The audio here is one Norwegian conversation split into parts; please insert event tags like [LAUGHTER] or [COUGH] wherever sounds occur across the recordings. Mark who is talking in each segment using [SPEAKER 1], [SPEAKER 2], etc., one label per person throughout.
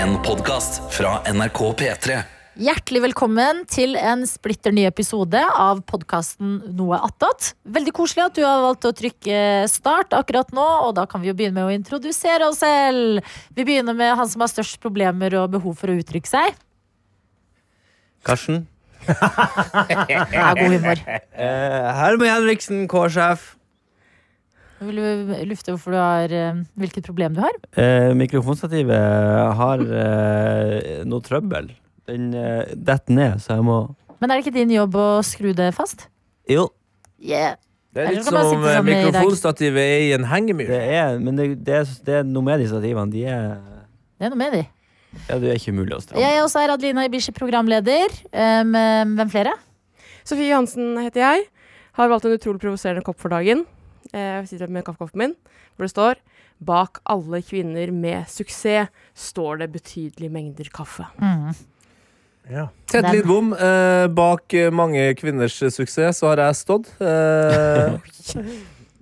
[SPEAKER 1] En podcast fra NRK P3
[SPEAKER 2] Hjertelig velkommen til en splitter ny episode av podkasten Noe attåt. Veldig koselig at du har valgt å trykke eh, start akkurat nå, og da kan vi jo begynne med å introdusere oss selv. Vi begynner med han som har størst problemer og behov for å uttrykke seg.
[SPEAKER 3] Karsten.
[SPEAKER 2] Det er god
[SPEAKER 4] [LAUGHS]
[SPEAKER 2] humor.
[SPEAKER 3] Eh, Herman Henriksen, K-sjef.
[SPEAKER 2] Vil du lufte hvorfor du har, eh, hvilket problem du har?
[SPEAKER 3] Eh, mikrofonstativet har eh, noe trøbbel. Den eh, detter ned, så jeg må
[SPEAKER 2] Men er det ikke din jobb å skru det fast?
[SPEAKER 3] Jo.
[SPEAKER 2] Yeah.
[SPEAKER 4] Det er
[SPEAKER 2] Eller
[SPEAKER 4] litt
[SPEAKER 2] så kan man
[SPEAKER 4] som
[SPEAKER 2] sitte
[SPEAKER 4] eh,
[SPEAKER 2] sånn i dag.
[SPEAKER 4] mikrofonstativet er i en hengemyr.
[SPEAKER 3] Det er, men det, det, er, det er noe med de stativene. De er
[SPEAKER 2] Det er noe med de.
[SPEAKER 3] Ja, det er ikke mulig å stramme.
[SPEAKER 2] Jeg er også her Adelina Ibishi, programleder. Um, um, hvem flere?
[SPEAKER 5] Sofie Johansen heter jeg. Har valgt en utrolig provoserende kopp for dagen. Eh, Jeg sitter med kaffekoppen min, hvor det står 'Bak alle kvinner med suksess står det betydelige mengder kaffe'.
[SPEAKER 2] Mm.
[SPEAKER 4] Tett
[SPEAKER 2] Den.
[SPEAKER 4] Lidbom, eh, bak eh, mange kvinners eh, suksess så har jeg stått.
[SPEAKER 2] [LAUGHS]
[SPEAKER 4] Eh,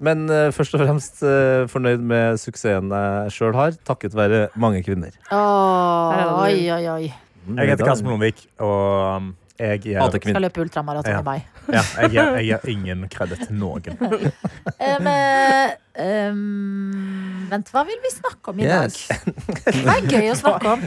[SPEAKER 4] men eh, først og fremst eh, fornøyd med suksessen jeg sjøl har, takket være mange kvinner.
[SPEAKER 2] Åh, oi, oi, oi.
[SPEAKER 6] Jeg heter Karsten Blomvik, og um, jeg gir,
[SPEAKER 4] Hater
[SPEAKER 2] Skal
[SPEAKER 4] kvinner.
[SPEAKER 2] løpe ultramaraton
[SPEAKER 6] Ja.
[SPEAKER 2] i mai.
[SPEAKER 6] ja, jeg gir, jeg gir ingen kreditt til noen.
[SPEAKER 2] Um, [LAUGHS] eh, um, vent, hva vil vi snakke om i dag? Hva er gøy å snakke om?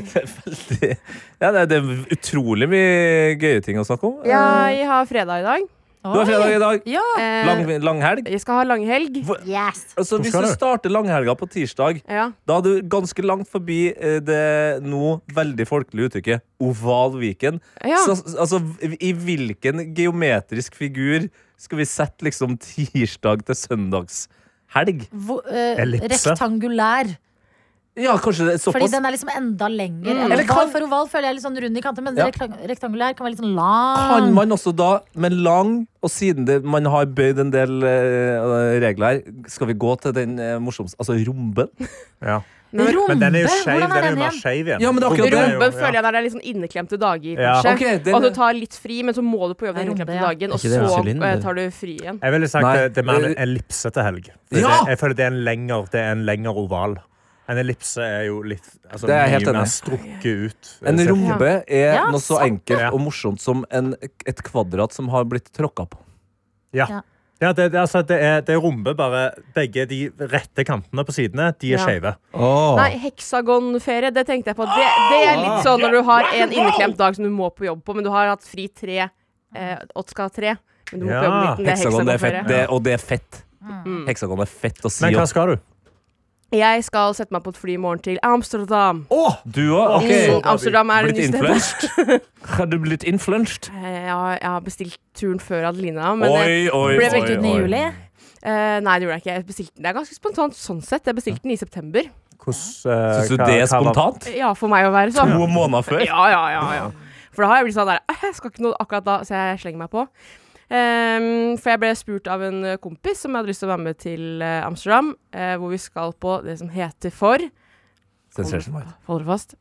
[SPEAKER 4] [LAUGHS] Ja, det, er- det er utrolig mye gøye ting å snakke om.
[SPEAKER 5] Jeg har fredag i dag.
[SPEAKER 4] Du har fredag i dag.
[SPEAKER 2] Ja.
[SPEAKER 5] Eh,
[SPEAKER 4] Lang, lang helg.
[SPEAKER 5] Jeg skal ha langhelg.
[SPEAKER 2] Yes.
[SPEAKER 4] Altså, hvis
[SPEAKER 6] skal
[SPEAKER 4] du
[SPEAKER 6] du?
[SPEAKER 4] starter langhelga på tirsdag,
[SPEAKER 5] Ja.
[SPEAKER 4] Da er du ganske langt forbi eh, det nå veldig folkelige uttrykket oval viken.
[SPEAKER 5] ja.
[SPEAKER 4] Så, altså, I hvilken geometrisk figur skal vi sette liksom tirsdag til søndagshelg?
[SPEAKER 2] Hvor, eh,
[SPEAKER 6] Ellipse.
[SPEAKER 2] rektangulær.
[SPEAKER 4] Ja, kanskje det er
[SPEAKER 2] Fordi
[SPEAKER 4] såpass.
[SPEAKER 2] den er liksom enda lenger.
[SPEAKER 5] Mm.
[SPEAKER 2] enn
[SPEAKER 4] Eller
[SPEAKER 2] oval,
[SPEAKER 4] kan-
[SPEAKER 2] for oval føler jeg er litt sånn rund i kanten, men
[SPEAKER 4] Ja.
[SPEAKER 2] rektang- rektangulær kan være litt sånn lang.
[SPEAKER 4] Kan man også da, med lang, og siden det, man har bøyd en del eh, regler her, skal vi gå til den eh, morsomste, altså romben?
[SPEAKER 6] Ja.
[SPEAKER 5] Men
[SPEAKER 2] Rombe?
[SPEAKER 6] Men den er jo skeiv.
[SPEAKER 2] Hvordan er
[SPEAKER 6] Den er
[SPEAKER 2] den
[SPEAKER 6] jo mer
[SPEAKER 2] igjen?
[SPEAKER 6] skeiv igjen.
[SPEAKER 4] Ja, men det er akkurat det.
[SPEAKER 6] Rumpen er jo-
[SPEAKER 5] Rumpen føler jeg når det er litt sånn inneklemte dager,
[SPEAKER 6] Ja.
[SPEAKER 5] kanskje.
[SPEAKER 4] Ok, den-
[SPEAKER 5] Og
[SPEAKER 6] Altså,
[SPEAKER 5] du tar litt fri, men så må du på jobb den
[SPEAKER 2] Nei, rumpe,
[SPEAKER 5] inneklemte
[SPEAKER 2] ja.
[SPEAKER 5] dagen, og
[SPEAKER 3] Er ikke det en
[SPEAKER 5] så
[SPEAKER 3] sylinder?
[SPEAKER 5] eh, tar du fri igjen.
[SPEAKER 6] Jeg ville sagt
[SPEAKER 4] Nei,
[SPEAKER 6] det, det er mer en
[SPEAKER 4] eh,
[SPEAKER 6] ellipse til helg. For
[SPEAKER 4] Ja!
[SPEAKER 6] det, jeg føler det er en lengre, det er en lengre oval. En ellipse er jo litt altså,
[SPEAKER 4] Det er jeg helt
[SPEAKER 6] mye mer
[SPEAKER 4] enig i.
[SPEAKER 6] strukket ut. eh,
[SPEAKER 4] En rombe er
[SPEAKER 2] Ja,
[SPEAKER 4] noe så
[SPEAKER 2] sant
[SPEAKER 4] enkelt
[SPEAKER 6] Ja.
[SPEAKER 4] og morsomt som en, et kvadrat som har blitt tråkka på.
[SPEAKER 6] Ja, det, det, altså, det, er, det er rombe, bare begge de rette kantene på sidene, de er
[SPEAKER 5] Ja.
[SPEAKER 6] skeive.
[SPEAKER 3] Åh.
[SPEAKER 5] Nei, heksagonferie, det tenkte jeg på. Det, det er litt sånn når du har en inneklemt dag som du må på jobb på, men du har hatt fri tre, eh, og skal ha tre. Men du må
[SPEAKER 6] Ja,
[SPEAKER 5] på jobb 19, det er
[SPEAKER 4] Heksagon det er fett,
[SPEAKER 5] heksagonferie.
[SPEAKER 4] det, og det er fett.
[SPEAKER 5] Mm.
[SPEAKER 4] Heksagon er fett å si.
[SPEAKER 6] Men hva
[SPEAKER 4] opp.
[SPEAKER 6] skal du?
[SPEAKER 5] Jeg skal sette meg på et fly i morgen til Amsterdam.
[SPEAKER 4] Du òg?
[SPEAKER 6] Ok.
[SPEAKER 5] Mm, Amsterdam er det
[SPEAKER 4] Blitt
[SPEAKER 5] nye stedet.
[SPEAKER 4] influenced? Har du blitt influenced?
[SPEAKER 5] [LAUGHS] Eh, Jeg har, jeg har bestilt turen før Adelina, men eh,
[SPEAKER 4] Oi, oi, oi.
[SPEAKER 2] Ble veldig uten i
[SPEAKER 4] oi.
[SPEAKER 2] juli.
[SPEAKER 5] eh, Nei, det gjorde jeg ikke. Jeg bestilte den. Det er ganske spontant sånn sett. Jeg bestilte den i september.
[SPEAKER 6] Hvordan eh,
[SPEAKER 4] Syns du det er spontant?
[SPEAKER 5] Ja, for meg å være sånn.
[SPEAKER 4] To måneder før?
[SPEAKER 5] Ja, ja, ja, ja. For da har jeg blitt sånn der «Ah, Jeg skal ikke noe akkurat da, så jeg slenger meg på. Ehm, for jeg ble spurt av en eh, kompis som jeg hadde lyst til å være med til eh, Amsterdam, eh, hvor vi skal på det som heter for
[SPEAKER 4] Sensation White.
[SPEAKER 5] Hold dere fast.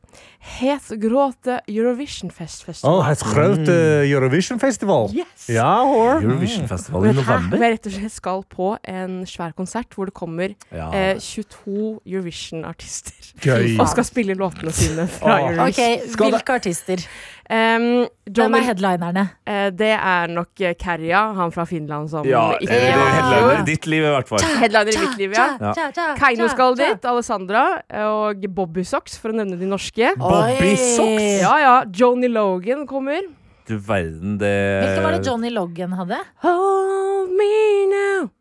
[SPEAKER 5] Het gråte Eurovision Fest Festival.
[SPEAKER 6] Oh, het grote Eurovision Festival.
[SPEAKER 5] Yes!
[SPEAKER 6] Ja, hoor.
[SPEAKER 4] Eurovision-festival i
[SPEAKER 5] Men her, hvor
[SPEAKER 4] november?
[SPEAKER 5] jeg rett og slett skal på en svær konsert hvor det kommer
[SPEAKER 4] Ja.
[SPEAKER 5] eh, 22 Eurovision-artister
[SPEAKER 6] Gøy.
[SPEAKER 5] og skal spille låtene sine fra
[SPEAKER 6] Åh.
[SPEAKER 5] Eurovision.
[SPEAKER 2] Ok, Hvilke artister?
[SPEAKER 5] Ehm,
[SPEAKER 2] Hvem
[SPEAKER 5] Johnny
[SPEAKER 2] er headlinerne?
[SPEAKER 5] Eh, det er nok eh, Kerja, han fra Finland som
[SPEAKER 4] ja, eh,
[SPEAKER 5] ikke
[SPEAKER 4] det er
[SPEAKER 5] vant i fjor.
[SPEAKER 4] headliner i ditt liv, i hvert fall.
[SPEAKER 5] Headliner i mitt liv, ja.
[SPEAKER 4] Ja.
[SPEAKER 5] Keiino skal dit, Alessandra og Bobby Socks, for å nevne de norske.
[SPEAKER 2] Bobby Socks.
[SPEAKER 5] Ja, ja. Joni Logan kommer.
[SPEAKER 4] Du verden, det
[SPEAKER 2] Hvilke var det
[SPEAKER 4] Eh.
[SPEAKER 2] Johnny Loggan hadde?
[SPEAKER 5] Hold me now,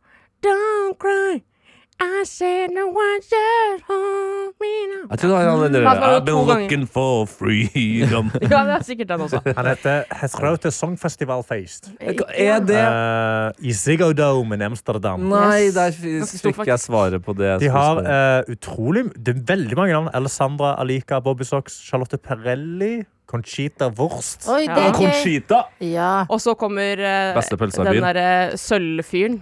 [SPEAKER 5] don't cry. I said no one should hold me now.
[SPEAKER 4] Jeg tror han hadde den der,
[SPEAKER 5] Han var jo
[SPEAKER 4] I've been
[SPEAKER 5] to ganger.
[SPEAKER 4] looking for
[SPEAKER 5] [LAUGHS]
[SPEAKER 4] freedom.
[SPEAKER 5] Ja, det er sikkert den
[SPEAKER 4] [LAUGHS]
[SPEAKER 5] også.
[SPEAKER 6] Han heter Het grote Songfestivalfeest.
[SPEAKER 4] Er det
[SPEAKER 6] Eh, I Ziggo Dome i Amsterdam.
[SPEAKER 4] Nei,
[SPEAKER 5] Yes.
[SPEAKER 4] der
[SPEAKER 5] Ganske stor,
[SPEAKER 4] fikk jeg svaret på det. jeg
[SPEAKER 6] De
[SPEAKER 4] skulle
[SPEAKER 6] har
[SPEAKER 4] spørre.
[SPEAKER 6] eh, utrolig Det er veldig mange navn. Alessandra Alika, Bobby Socks, Charlotte Perrelli, Conchita Wurst.
[SPEAKER 2] Oi,
[SPEAKER 5] Ja.
[SPEAKER 2] det er gøy.
[SPEAKER 4] Conchita!
[SPEAKER 2] Ja.
[SPEAKER 5] Og så kommer eh,
[SPEAKER 4] Beste pølsa i
[SPEAKER 5] den
[SPEAKER 4] byen.
[SPEAKER 5] derre sølvfyren.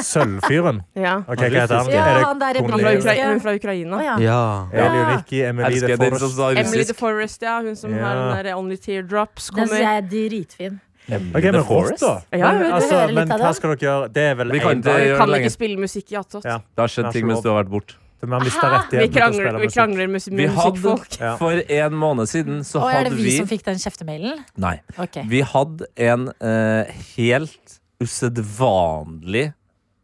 [SPEAKER 6] Sølvfyren.
[SPEAKER 5] Ja.
[SPEAKER 6] Ok, hva heter han?
[SPEAKER 2] Ja,
[SPEAKER 6] Er det
[SPEAKER 2] han der er
[SPEAKER 5] Han
[SPEAKER 6] Cornelius?
[SPEAKER 5] fra, Ukra
[SPEAKER 2] Ja.
[SPEAKER 5] hun fra Ukraina.
[SPEAKER 2] Å, ja.
[SPEAKER 3] Ja.
[SPEAKER 6] Elioniki, Emily
[SPEAKER 4] Elsker
[SPEAKER 6] de
[SPEAKER 4] den som
[SPEAKER 6] Forest.
[SPEAKER 4] sa
[SPEAKER 5] Emily
[SPEAKER 4] russisk.
[SPEAKER 5] the Forest, ja. Hun som
[SPEAKER 6] Ja.
[SPEAKER 5] har den der Only Teardrops
[SPEAKER 2] Den
[SPEAKER 5] kommer.
[SPEAKER 2] syns jeg er dritfin.
[SPEAKER 6] Ok, men rått, da.
[SPEAKER 5] Ja, jeg vet det.
[SPEAKER 6] altså,
[SPEAKER 2] Hører litt
[SPEAKER 6] men
[SPEAKER 2] av
[SPEAKER 6] hva
[SPEAKER 2] det.
[SPEAKER 6] skal dere gjøre? Det er vel
[SPEAKER 4] Vi kan
[SPEAKER 6] en dag.
[SPEAKER 4] ikke gjøre
[SPEAKER 5] Kan
[SPEAKER 4] det lenge.
[SPEAKER 5] ikke spille musikk i attåt.
[SPEAKER 6] Ja.
[SPEAKER 4] Det har skjedd ting mens du har vært borte.
[SPEAKER 6] For vi har
[SPEAKER 2] Hæ?
[SPEAKER 6] mista
[SPEAKER 5] Vi
[SPEAKER 6] rettigheten til å
[SPEAKER 5] krangler,
[SPEAKER 6] spille
[SPEAKER 5] vi
[SPEAKER 6] musikk.
[SPEAKER 5] krangler mus
[SPEAKER 4] Vi hadde,
[SPEAKER 5] musikkfolk.
[SPEAKER 6] Ja.
[SPEAKER 4] for en måned siden så
[SPEAKER 2] Og er
[SPEAKER 4] hadde
[SPEAKER 2] det vi
[SPEAKER 4] vi
[SPEAKER 2] som fikk den kjeftemailen?
[SPEAKER 4] Nei.
[SPEAKER 2] Ok.
[SPEAKER 4] Vi hadde en eh, helt usedvanlig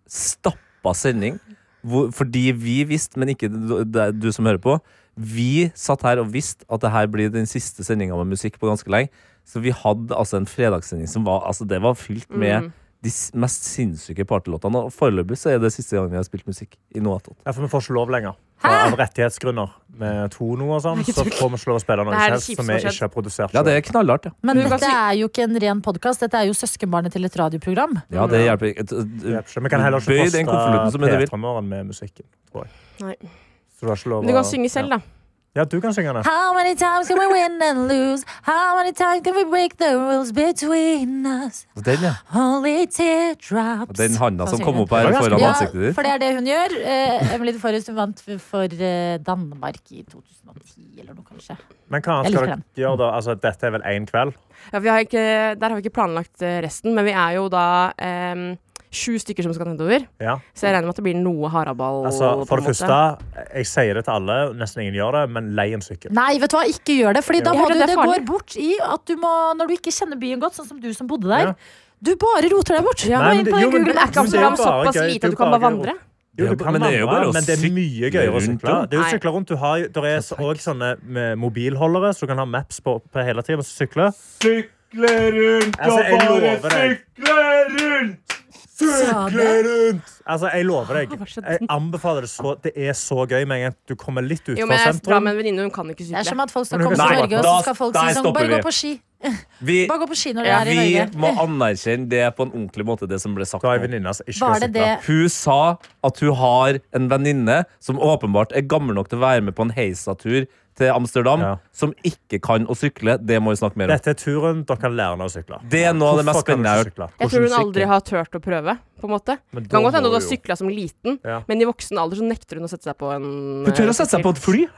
[SPEAKER 4] stappa sending. Hvor, fordi vi visste, men ikke du, det er du som hører på Vi satt her og visste at det her blir den siste sendinga med musikk på ganske lenge. Så vi hadde altså en fredagssending som var, altså, det var fylt med
[SPEAKER 5] Mm.
[SPEAKER 4] de s- mest sinnssyke partylåtene. Og foreløpig så er det siste gang vi har spilt musikk i noe attåt.
[SPEAKER 6] Ja, for vi får ikke lov lenger. For
[SPEAKER 2] Hæ?
[SPEAKER 6] av rettighetsgrunner med Tono og sånn, så får vi ikke lov å spille noe
[SPEAKER 5] Det her er det
[SPEAKER 6] som helst
[SPEAKER 5] kjipeste som
[SPEAKER 6] som vi
[SPEAKER 5] har skjedd.
[SPEAKER 6] ikke har produsert.
[SPEAKER 4] Ja, det er knallhardt, ja.
[SPEAKER 2] Men
[SPEAKER 5] Men du kan
[SPEAKER 2] dette
[SPEAKER 5] si-
[SPEAKER 2] er jo ikke en ren podkast, dette er jo søskenbarnet til et radioprogram.
[SPEAKER 4] Ja, det hjelper ikke.
[SPEAKER 6] selv. Vi kan heller
[SPEAKER 4] Bøy
[SPEAKER 6] ikke
[SPEAKER 4] den konvolutten som du
[SPEAKER 6] poste
[SPEAKER 4] vil.
[SPEAKER 6] P-trommeren med musikken, tror jeg.
[SPEAKER 5] Nei.
[SPEAKER 6] Så du har ikke lov
[SPEAKER 5] Men du kan synge selv, da.
[SPEAKER 6] Ja, du kan synge den.
[SPEAKER 2] How many times can we win and lose? How many times can we break the rules between us?
[SPEAKER 4] Den, ja.
[SPEAKER 2] Only teardrops
[SPEAKER 4] Den handa som kom opp her
[SPEAKER 6] Det var ganske
[SPEAKER 4] foran
[SPEAKER 6] bra.
[SPEAKER 4] ansiktet ditt.
[SPEAKER 2] for det er det hun gjør. Eh, Emily de Forrest hun vant for- for eh, Danmark i 2010 eller noe, kanskje.
[SPEAKER 6] Men hva annet
[SPEAKER 2] Jeg
[SPEAKER 6] skal
[SPEAKER 2] liker
[SPEAKER 6] dere gjøre da? Altså, dette er vel én kveld?
[SPEAKER 5] Ja, vi har ikke, der har vi ikke planlagt eh, resten, men vi er jo da em, sju stykker som skal nedover.
[SPEAKER 6] Ja.
[SPEAKER 5] Så jeg regner med at det blir noe haraball.
[SPEAKER 6] Altså,
[SPEAKER 5] på
[SPEAKER 6] for
[SPEAKER 5] en
[SPEAKER 6] det
[SPEAKER 5] måte.
[SPEAKER 6] første, jeg sier det til alle, nesten ingen gjør det, men lei en sykkel.
[SPEAKER 2] Nei, vet du hva, ikke gjør det. Fordi da
[SPEAKER 5] Jeg
[SPEAKER 2] må
[SPEAKER 5] hørte
[SPEAKER 2] du,
[SPEAKER 5] det er
[SPEAKER 2] det
[SPEAKER 5] farlig.
[SPEAKER 2] går bort i at du må, når du ikke kjenner byen godt, sånn som du som bodde der,
[SPEAKER 6] Ja.
[SPEAKER 2] du bare roter deg bort.
[SPEAKER 5] Ja,
[SPEAKER 2] Gå
[SPEAKER 6] Nei, men
[SPEAKER 2] inn
[SPEAKER 6] det-
[SPEAKER 2] på
[SPEAKER 6] jo,
[SPEAKER 2] den Google
[SPEAKER 6] men
[SPEAKER 5] Men er
[SPEAKER 2] Maps.
[SPEAKER 5] ikke
[SPEAKER 6] Men det er jo
[SPEAKER 5] Amsterdam
[SPEAKER 6] bare
[SPEAKER 5] såpass
[SPEAKER 6] gøy.
[SPEAKER 5] lite at
[SPEAKER 6] Du
[SPEAKER 5] du kan
[SPEAKER 6] bare
[SPEAKER 5] bare vandre?
[SPEAKER 6] Jo,
[SPEAKER 4] Ja,
[SPEAKER 6] du kan
[SPEAKER 4] men det er jo
[SPEAKER 6] vandre,
[SPEAKER 4] bare å
[SPEAKER 6] men det er mye gøyere å
[SPEAKER 4] rundt
[SPEAKER 6] sykle.
[SPEAKER 4] om.
[SPEAKER 6] Det er jo
[SPEAKER 5] Nei.
[SPEAKER 6] sykler rundt. Du har, jo- der er så- også sånne med mobilholdere, så du kan ha maps på, på hele tiden og sykle.
[SPEAKER 7] Sykle rundt
[SPEAKER 6] Altså, jeg lover deg.
[SPEAKER 7] sykle rundt!
[SPEAKER 2] Sa det.
[SPEAKER 6] Altså, jeg lover deg.
[SPEAKER 5] Hva skjedde?
[SPEAKER 6] Jeg anbefaler det så. Det er så gøy med en gang du kommer litt ut
[SPEAKER 5] Jo,
[SPEAKER 6] fra
[SPEAKER 5] men jeg drar
[SPEAKER 6] sentrum.
[SPEAKER 5] med en venninne, hun kan ikke
[SPEAKER 2] Det er som
[SPEAKER 5] sykle.
[SPEAKER 2] at folk skal
[SPEAKER 6] Men du
[SPEAKER 2] komme
[SPEAKER 6] kan
[SPEAKER 2] til
[SPEAKER 6] si-
[SPEAKER 2] Norge, og så
[SPEAKER 4] Nei,
[SPEAKER 2] skal folk
[SPEAKER 4] da-
[SPEAKER 2] si
[SPEAKER 4] der
[SPEAKER 2] sånn Bare
[SPEAKER 4] stopper
[SPEAKER 2] gå
[SPEAKER 4] vi.
[SPEAKER 2] på ski.
[SPEAKER 4] Vi,
[SPEAKER 2] Bare gå på ski når du
[SPEAKER 4] Ja,
[SPEAKER 2] er i
[SPEAKER 4] vi må
[SPEAKER 2] Norge.
[SPEAKER 4] anerkjenne det på en ordentlig måte, det som ble sagt.
[SPEAKER 6] Da er
[SPEAKER 4] nå.
[SPEAKER 6] venninna som ikke
[SPEAKER 2] Var
[SPEAKER 6] kan
[SPEAKER 2] det
[SPEAKER 6] sykle.
[SPEAKER 2] det
[SPEAKER 4] Hun sa at hun har en venninne som åpenbart er gammel nok til å være med på en heisatur til Amsterdam,
[SPEAKER 6] Ja.
[SPEAKER 4] som ikke kan å sykle. Det må vi snakke mer om.
[SPEAKER 6] Dette er turen dere kan lære henne å sykle.
[SPEAKER 4] Det er noe av det mest
[SPEAKER 6] Hvorfor kan du
[SPEAKER 4] spennende jeg har
[SPEAKER 6] ikke sykle?
[SPEAKER 5] Jeg tror hun
[SPEAKER 4] Hvordan
[SPEAKER 5] aldri
[SPEAKER 4] sykle?
[SPEAKER 5] har turt å prøve. på en måte
[SPEAKER 6] Men
[SPEAKER 5] Det kan
[SPEAKER 6] da
[SPEAKER 5] godt hende
[SPEAKER 6] må
[SPEAKER 5] hun har
[SPEAKER 6] jo-
[SPEAKER 5] sykla som liten,
[SPEAKER 6] Ja.
[SPEAKER 5] men i voksen alder så nekter hun å sette seg på en
[SPEAKER 4] Hun tør å sette seg på et fly!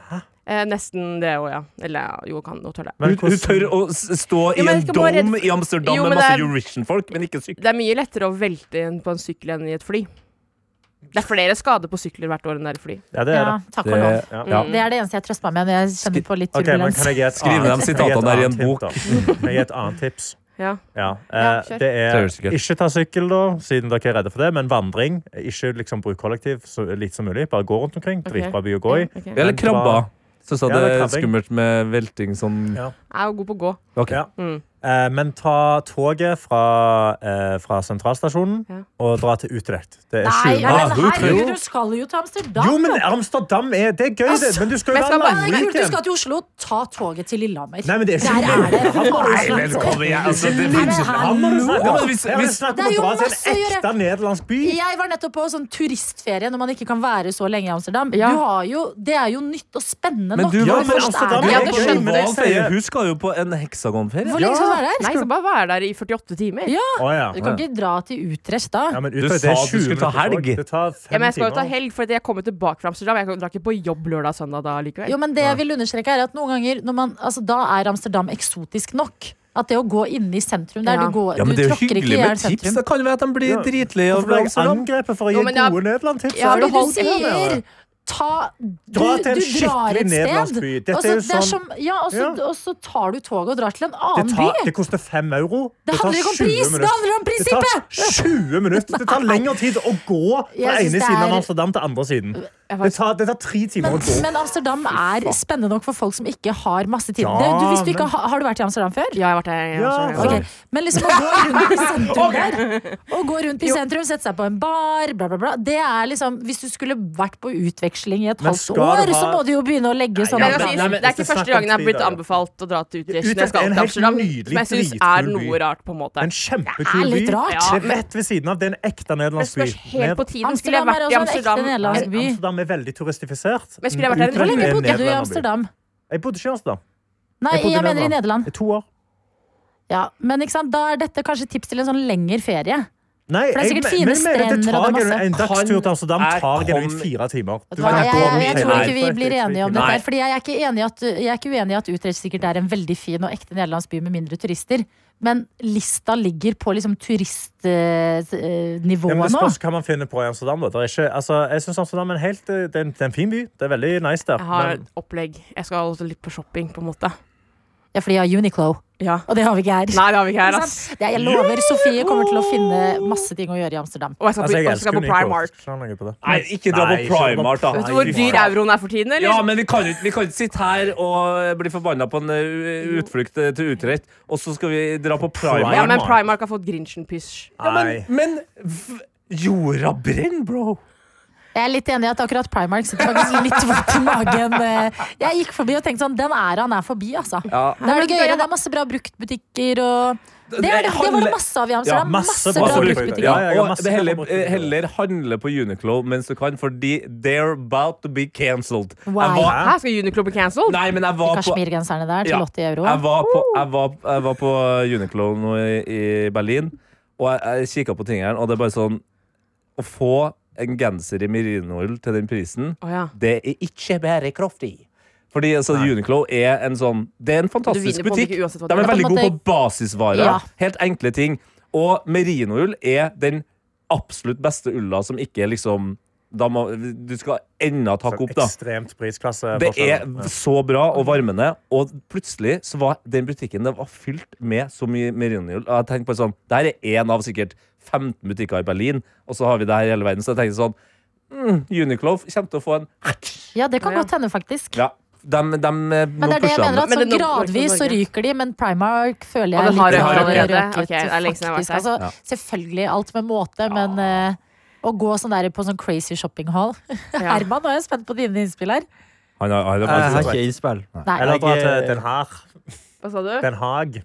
[SPEAKER 5] Eh, nesten det òg, ja. Eller ja, jo, kan hun tør det.
[SPEAKER 6] Men
[SPEAKER 4] Hun, hun
[SPEAKER 6] hvordan-
[SPEAKER 4] tør å s- stå
[SPEAKER 5] Jo,
[SPEAKER 4] i
[SPEAKER 5] men
[SPEAKER 4] en
[SPEAKER 5] skal bare
[SPEAKER 4] dom
[SPEAKER 5] redd-
[SPEAKER 4] i Amsterdam
[SPEAKER 5] Jo,
[SPEAKER 4] med
[SPEAKER 5] men
[SPEAKER 4] masse
[SPEAKER 5] det er-
[SPEAKER 4] Eurovision-folk, men ikke sykle.
[SPEAKER 5] Det er mye lettere å velte inn på en sykkel enn i et fly. Det er flere skader på sykler hvert år enn det er i fly.
[SPEAKER 6] Ja, det er
[SPEAKER 2] Ja,
[SPEAKER 6] det.
[SPEAKER 2] takk for lov.
[SPEAKER 6] Ja.
[SPEAKER 5] Ja. Mm.
[SPEAKER 2] Det er det eneste jeg trøster meg med når jeg kjenner på litt
[SPEAKER 6] Ok, men
[SPEAKER 2] turbulens.
[SPEAKER 6] kan jeg gi et
[SPEAKER 4] Skriv
[SPEAKER 6] annet-
[SPEAKER 4] ned de
[SPEAKER 6] kan jeg gi et
[SPEAKER 4] sitatene der i en
[SPEAKER 6] annet
[SPEAKER 4] bok.
[SPEAKER 6] tips, da? Kan jeg gi et annet tips?
[SPEAKER 5] Ja.
[SPEAKER 6] Ja,
[SPEAKER 5] Ja,
[SPEAKER 6] eh,
[SPEAKER 5] kjør.
[SPEAKER 6] det
[SPEAKER 4] Ta
[SPEAKER 6] er
[SPEAKER 4] elsykkel.
[SPEAKER 6] Ikke ta sykkel, da, siden dere er redde for det, men vandring. Ikke liksom bruk kollektiv så lite som mulig. Bare gå rundt omkring.
[SPEAKER 5] Ok.
[SPEAKER 6] Dritbra by å gå i.
[SPEAKER 5] Ok. Jeg
[SPEAKER 4] Eller krabba. Syns jeg
[SPEAKER 6] Ja,
[SPEAKER 4] det
[SPEAKER 6] eller
[SPEAKER 4] er
[SPEAKER 6] krabbing.
[SPEAKER 4] skummelt med velting sånn
[SPEAKER 6] Ja.
[SPEAKER 5] er jo god på å gå.
[SPEAKER 4] Ok.
[SPEAKER 6] Ja.
[SPEAKER 5] Mm.
[SPEAKER 6] Eh, men ta toget fra, eh, fra sentralstasjonen
[SPEAKER 5] Ja.
[SPEAKER 6] og dra til Utrecht. Det
[SPEAKER 2] Nei,
[SPEAKER 6] er sju-
[SPEAKER 2] ja, men
[SPEAKER 4] Ah, hun
[SPEAKER 2] herregud,
[SPEAKER 4] tror-
[SPEAKER 2] du skal jo til Amsterdam!
[SPEAKER 6] Jo, men Amsterdam er, det er gøy, det. Men du skal jo
[SPEAKER 5] men
[SPEAKER 6] være
[SPEAKER 5] skal bare-
[SPEAKER 2] Nei, kult, du
[SPEAKER 6] langweekend.
[SPEAKER 2] skal til Oslo, ta toget til Lillehammer.
[SPEAKER 6] Nei, men det er
[SPEAKER 2] Der er
[SPEAKER 6] ikke
[SPEAKER 2] det
[SPEAKER 6] Nei, men kom igjen, altså, det
[SPEAKER 2] Nei, men
[SPEAKER 6] finnes ikke- Han har
[SPEAKER 2] hallo!
[SPEAKER 6] jo snakket-
[SPEAKER 4] Ja, men hvis-
[SPEAKER 6] Ja, men
[SPEAKER 4] hvis-
[SPEAKER 6] snakk
[SPEAKER 2] Det
[SPEAKER 6] om
[SPEAKER 2] er jo
[SPEAKER 6] å dra til
[SPEAKER 2] masse å
[SPEAKER 6] en
[SPEAKER 2] gjøre.
[SPEAKER 6] ekte nederlandsk by.
[SPEAKER 2] Jeg var nettopp på sånn turistferie når man ikke kan være så lenge i Amsterdam.
[SPEAKER 5] Ja.
[SPEAKER 2] Du har jo, det er jo nytt og spennende
[SPEAKER 4] Men
[SPEAKER 2] nok.
[SPEAKER 4] du
[SPEAKER 2] når
[SPEAKER 6] Ja,
[SPEAKER 4] var
[SPEAKER 2] du
[SPEAKER 6] men
[SPEAKER 2] først er
[SPEAKER 6] Amsterdam
[SPEAKER 2] der.
[SPEAKER 5] er
[SPEAKER 2] Ja,
[SPEAKER 5] jo
[SPEAKER 2] det
[SPEAKER 6] gøy.
[SPEAKER 2] skjønner
[SPEAKER 6] men det
[SPEAKER 4] Hval
[SPEAKER 6] sier-
[SPEAKER 4] sier Hun skal jo på en heksagonferie.
[SPEAKER 2] Hvor lenge skal du være her?
[SPEAKER 5] Nei, så bare være der i 48 timer. Ja,
[SPEAKER 6] Å, ja.
[SPEAKER 2] Du kan ikke dra til Utrecht da.
[SPEAKER 6] Ja, men
[SPEAKER 4] Du
[SPEAKER 6] Utrecht,
[SPEAKER 4] sa
[SPEAKER 6] det er
[SPEAKER 4] at du
[SPEAKER 6] 20
[SPEAKER 4] skulle ta
[SPEAKER 6] minutter tog.
[SPEAKER 4] helg.
[SPEAKER 6] Det tar fem
[SPEAKER 5] men jeg skal jo ta
[SPEAKER 6] timer.
[SPEAKER 5] helg, for jeg kommer tilbake fra Amsterdam. Jeg drar ikke på jobb lørdag og søndag da likevel.
[SPEAKER 2] Jo, men det jeg vil understreke er at noen ganger når man, altså, Da er Amsterdam eksotisk nok. At det å gå inne i sentrum der
[SPEAKER 5] Ja.
[SPEAKER 2] Du, går,
[SPEAKER 4] Ja, men
[SPEAKER 2] du
[SPEAKER 4] det er jo
[SPEAKER 2] tråkker ikke
[SPEAKER 4] hyggelig
[SPEAKER 2] i
[SPEAKER 4] med
[SPEAKER 2] hjel
[SPEAKER 4] tips.
[SPEAKER 2] sentrum.
[SPEAKER 4] Det kan jo være at de blir
[SPEAKER 6] Ja.
[SPEAKER 4] dritleie av
[SPEAKER 6] Hvorfor ble jeg
[SPEAKER 4] Amsterdam.
[SPEAKER 6] angrepet for å
[SPEAKER 5] Jo,
[SPEAKER 6] gi
[SPEAKER 5] men jeg-
[SPEAKER 6] gode Nederland-tips?
[SPEAKER 5] Ja,
[SPEAKER 6] Er
[SPEAKER 2] Fordi
[SPEAKER 6] det
[SPEAKER 5] men
[SPEAKER 2] du
[SPEAKER 6] holdt her
[SPEAKER 2] sier
[SPEAKER 6] nede?
[SPEAKER 2] ta du,
[SPEAKER 6] Dra til en
[SPEAKER 2] du drar
[SPEAKER 6] skikkelig
[SPEAKER 2] et
[SPEAKER 6] nederlandsk
[SPEAKER 2] sted,
[SPEAKER 6] by. Dette
[SPEAKER 2] og
[SPEAKER 6] er
[SPEAKER 2] så,
[SPEAKER 6] jo
[SPEAKER 2] det er
[SPEAKER 6] sånn-
[SPEAKER 2] som, ja, og, så,
[SPEAKER 6] Ja.
[SPEAKER 2] og så tar du toget og drar til en
[SPEAKER 6] Det,
[SPEAKER 2] annen
[SPEAKER 6] tar, det
[SPEAKER 2] by.
[SPEAKER 6] koster fem euro.
[SPEAKER 2] Det
[SPEAKER 6] tar
[SPEAKER 2] handler ikke om
[SPEAKER 6] 20
[SPEAKER 2] pris, det
[SPEAKER 6] minutter.
[SPEAKER 2] handler om prinsippet!
[SPEAKER 6] Det tar 20 minutter. Det tar lengre tid å gå fra
[SPEAKER 2] Jeg synes
[SPEAKER 6] ene
[SPEAKER 2] det
[SPEAKER 6] siden av
[SPEAKER 2] er-
[SPEAKER 6] Amsterdam til andre siden.
[SPEAKER 5] Jeg
[SPEAKER 6] Det
[SPEAKER 5] faktisk-
[SPEAKER 6] tar, det tar tre timer å gå.
[SPEAKER 2] Men Amsterdam er spennende nok for folk som ikke har masse tid.
[SPEAKER 6] Ja,
[SPEAKER 2] det, du, hvis du ikke
[SPEAKER 6] men-
[SPEAKER 2] har, har du vært i Amsterdam før?
[SPEAKER 5] Ja, jeg har vært der. i
[SPEAKER 6] Ja,
[SPEAKER 5] Amsterdam.
[SPEAKER 6] så-
[SPEAKER 2] Ok, Men liksom å gå rundt i sentrum der, Å gå rundt i sentrum, sette seg på en bar, bla, bla, bla. Det er liksom Hvis du skulle vært på utveksling i et
[SPEAKER 6] Men
[SPEAKER 2] halvt
[SPEAKER 6] skal
[SPEAKER 2] år,
[SPEAKER 6] du ha-
[SPEAKER 2] så må du jo begynne å legge
[SPEAKER 5] Men
[SPEAKER 6] Ja,
[SPEAKER 2] sånne
[SPEAKER 5] jeg
[SPEAKER 6] men-
[SPEAKER 5] kan si,
[SPEAKER 6] nei, men
[SPEAKER 5] det er
[SPEAKER 6] hvis
[SPEAKER 5] ikke
[SPEAKER 6] det
[SPEAKER 5] første
[SPEAKER 6] snakker om
[SPEAKER 5] gangen jeg har blitt
[SPEAKER 6] tviler, ja.
[SPEAKER 5] anbefalt å dra til Utrecht. når
[SPEAKER 6] Utrecht
[SPEAKER 5] Jeg
[SPEAKER 6] er
[SPEAKER 5] skal
[SPEAKER 6] en
[SPEAKER 5] til
[SPEAKER 6] helt
[SPEAKER 5] Amsterdam,
[SPEAKER 6] nydelig,
[SPEAKER 5] som jeg syns
[SPEAKER 6] dritkul
[SPEAKER 5] er
[SPEAKER 6] by.
[SPEAKER 5] noe rart, på en måte.
[SPEAKER 6] En
[SPEAKER 2] Det er
[SPEAKER 6] kjempekul by.
[SPEAKER 2] litt rart.
[SPEAKER 6] Det er rett ved siden av. Det er en
[SPEAKER 5] Men
[SPEAKER 6] ekte nederlandsk by.
[SPEAKER 5] spørs helt på tiden. Skulle jeg
[SPEAKER 2] Amsterdam er
[SPEAKER 5] vært i
[SPEAKER 2] også en ekte
[SPEAKER 5] Amsterdam
[SPEAKER 2] nederlandsk by.
[SPEAKER 6] Amsterdam er veldig turistifisert.
[SPEAKER 5] Men skulle jeg vært der-
[SPEAKER 6] Utrecht
[SPEAKER 2] Hvor lenge
[SPEAKER 6] er en
[SPEAKER 2] bodde du i
[SPEAKER 6] nederlanderby.
[SPEAKER 2] Amsterdam?
[SPEAKER 6] Jeg bodde ikke i Amsterdam.
[SPEAKER 2] Nei,
[SPEAKER 6] Jeg bodde i
[SPEAKER 2] jeg mener i
[SPEAKER 6] Nederland.
[SPEAKER 2] Nederland.
[SPEAKER 6] I to år.
[SPEAKER 2] Ja, men ikke sant? Da er dette kanskje tips til en sånn lengre ferie.
[SPEAKER 6] Nei,
[SPEAKER 2] For det er
[SPEAKER 6] jeg-
[SPEAKER 2] sikkert
[SPEAKER 6] men-
[SPEAKER 2] fine
[SPEAKER 6] men- men dette
[SPEAKER 2] strender og
[SPEAKER 6] tar
[SPEAKER 2] det er
[SPEAKER 6] genu- En
[SPEAKER 4] masse.
[SPEAKER 6] dagstur til Amsterdam
[SPEAKER 4] Han er
[SPEAKER 6] tar genuint
[SPEAKER 4] kommet-
[SPEAKER 6] fire timer.
[SPEAKER 2] Vet
[SPEAKER 6] Du
[SPEAKER 2] du hva,
[SPEAKER 6] kan
[SPEAKER 2] Jeg, jeg,
[SPEAKER 6] gå
[SPEAKER 2] jeg
[SPEAKER 6] mye
[SPEAKER 2] tror
[SPEAKER 6] lenger.
[SPEAKER 2] ikke vi blir enige om
[SPEAKER 4] Nei.
[SPEAKER 2] dette. her, Fordi jeg er ikke, enig i at, jeg er ikke uenig i at Utrecht sikkert er en veldig fin og ekte nederlandsk by med mindre turister. Men lista ligger på liksom eh,
[SPEAKER 6] Ja, men
[SPEAKER 2] turistnivået
[SPEAKER 6] det
[SPEAKER 2] nå.
[SPEAKER 6] spørs hva man finner på i Amsterdam. Da. Det er ikke, altså, jeg synes Amsterdam er en, helt, eh, det er en, det er en fin by. Det er veldig nice der.
[SPEAKER 5] Jeg har
[SPEAKER 6] Men
[SPEAKER 5] et opplegg. Jeg skal også litt på shopping, på en måte.
[SPEAKER 2] Ja, fordi jeg har Uniqlo,
[SPEAKER 5] Ja.
[SPEAKER 2] og det har vi ikke her.
[SPEAKER 5] Nei, det har vi ikke her, altså. ass.
[SPEAKER 2] Det, jeg lover, Sofie kommer til å finne masse ting å gjøre i Amsterdam.
[SPEAKER 5] Og jeg skal,
[SPEAKER 6] altså,
[SPEAKER 5] på,
[SPEAKER 6] jeg
[SPEAKER 5] og jeg
[SPEAKER 6] elsker
[SPEAKER 5] skal på
[SPEAKER 6] Uniqlo.
[SPEAKER 5] Primark.
[SPEAKER 6] Skal han legge på det?
[SPEAKER 4] Nei, ikke dra på
[SPEAKER 6] Nei, ikke dra på-
[SPEAKER 4] Primark, da.
[SPEAKER 5] Vet du hvor
[SPEAKER 4] Nei, fy
[SPEAKER 5] dyr
[SPEAKER 4] faen.
[SPEAKER 5] euroen er for tiden, eller?
[SPEAKER 4] Ja, men vi kan jo ikke- vi kan ikke sitte her og bli forbanna på en uh, utflukt eh, til Utrecht, og så skal vi dra på Primark.
[SPEAKER 5] Ja, men
[SPEAKER 6] Primark.
[SPEAKER 5] Primark har fått Grinchen-pysj.
[SPEAKER 6] Nei.
[SPEAKER 4] Men v- jorda brenner, bro!
[SPEAKER 2] Jeg er litt enig i at akkurat Primark sitter faktisk litt vondt i magen. eh. Jeg gikk forbi og tenkte sånn, den æraen er forbi, altså.
[SPEAKER 4] Ja.
[SPEAKER 2] Da er det gøyere, det er masse bra bruktbutikker og Det, er, det, det var det masse av i
[SPEAKER 6] Ja,
[SPEAKER 2] Amsterdam.
[SPEAKER 6] masse
[SPEAKER 2] masse
[SPEAKER 6] bra
[SPEAKER 2] bra
[SPEAKER 6] bruktbutikker.
[SPEAKER 2] bruktbutikker.
[SPEAKER 6] Ja, jeg har
[SPEAKER 4] Altså, og
[SPEAKER 6] masse
[SPEAKER 4] det heller,
[SPEAKER 6] favoritter.
[SPEAKER 4] eh, heller handle på Uniqlo mens du kan, fordi they're about to be cancelled. Jeg
[SPEAKER 2] Why?
[SPEAKER 4] var-
[SPEAKER 5] Her skal Uniqlo bli cancelled.
[SPEAKER 4] Nei, men jeg
[SPEAKER 2] De
[SPEAKER 4] var på
[SPEAKER 2] Kashmir-genserne der til
[SPEAKER 4] Ja.
[SPEAKER 2] 80 euro.
[SPEAKER 4] Jeg var på, jeg var, jeg var på Uniqlo nå i, i Berlin, og jeg, jeg kikka på tingene, og det er bare sånn Å få en genser i merinoull til den prisen,
[SPEAKER 5] Å ja.
[SPEAKER 4] det er ikke bærekraftig. Fordi altså, Uniqlo er en sånn Det er en fantastisk
[SPEAKER 5] vinner på det
[SPEAKER 4] butikk.
[SPEAKER 5] ikke uansett hva
[SPEAKER 4] De
[SPEAKER 5] du
[SPEAKER 4] er
[SPEAKER 2] gjør.
[SPEAKER 4] veldig
[SPEAKER 2] Det er på en
[SPEAKER 4] gode
[SPEAKER 2] måte-
[SPEAKER 4] på basisvarer.
[SPEAKER 2] Ja.
[SPEAKER 4] Helt enkle ting. Og merinoull er den absolutt beste ulla som ikke er liksom da må, Du skal enda takke opp, da.
[SPEAKER 6] Ekstremt prisklasse.
[SPEAKER 4] Det er
[SPEAKER 6] forskjell. Ja.
[SPEAKER 4] så bra og varmende. Og plutselig så var den butikken det var fylt med så mye merinoull. Og jeg tenkte på sånn, det her er én av sikkert 15 butikker i Berlin, og så har vi det her i hele verden. Så jeg tenkte sånn mm, Uniqlo kommer til å få en
[SPEAKER 2] Ja, det kan
[SPEAKER 5] Ja.
[SPEAKER 2] godt hende, faktisk.
[SPEAKER 4] Ja, dem, dem, eh, nå
[SPEAKER 2] Men det er det jeg
[SPEAKER 4] pusher dem.
[SPEAKER 2] mener, at
[SPEAKER 5] Men
[SPEAKER 2] sånn
[SPEAKER 5] det er nok-
[SPEAKER 2] gradvis så ryker de, men Primark føler
[SPEAKER 5] Ja,
[SPEAKER 2] jeg
[SPEAKER 5] det har
[SPEAKER 2] litt
[SPEAKER 4] røket
[SPEAKER 2] har
[SPEAKER 5] allerede.
[SPEAKER 2] røket,
[SPEAKER 5] Ok, det er lenge siden jeg har vært
[SPEAKER 2] faktisk.
[SPEAKER 5] der.
[SPEAKER 2] Altså,
[SPEAKER 4] Ja.
[SPEAKER 2] Selvfølgelig alt med måte, men eh, å gå sånn der på sånn crazy shopping hall [LAUGHS] Herman, nå er jeg spent på dine innspill her.
[SPEAKER 4] Han har- han
[SPEAKER 3] Jeg
[SPEAKER 4] har
[SPEAKER 3] har
[SPEAKER 4] faktisk-
[SPEAKER 3] ikke innspill.
[SPEAKER 2] Nei.
[SPEAKER 6] Eller dra
[SPEAKER 3] Jeg-
[SPEAKER 6] til Den Haag.
[SPEAKER 5] Hva sa du?
[SPEAKER 6] Den Haag.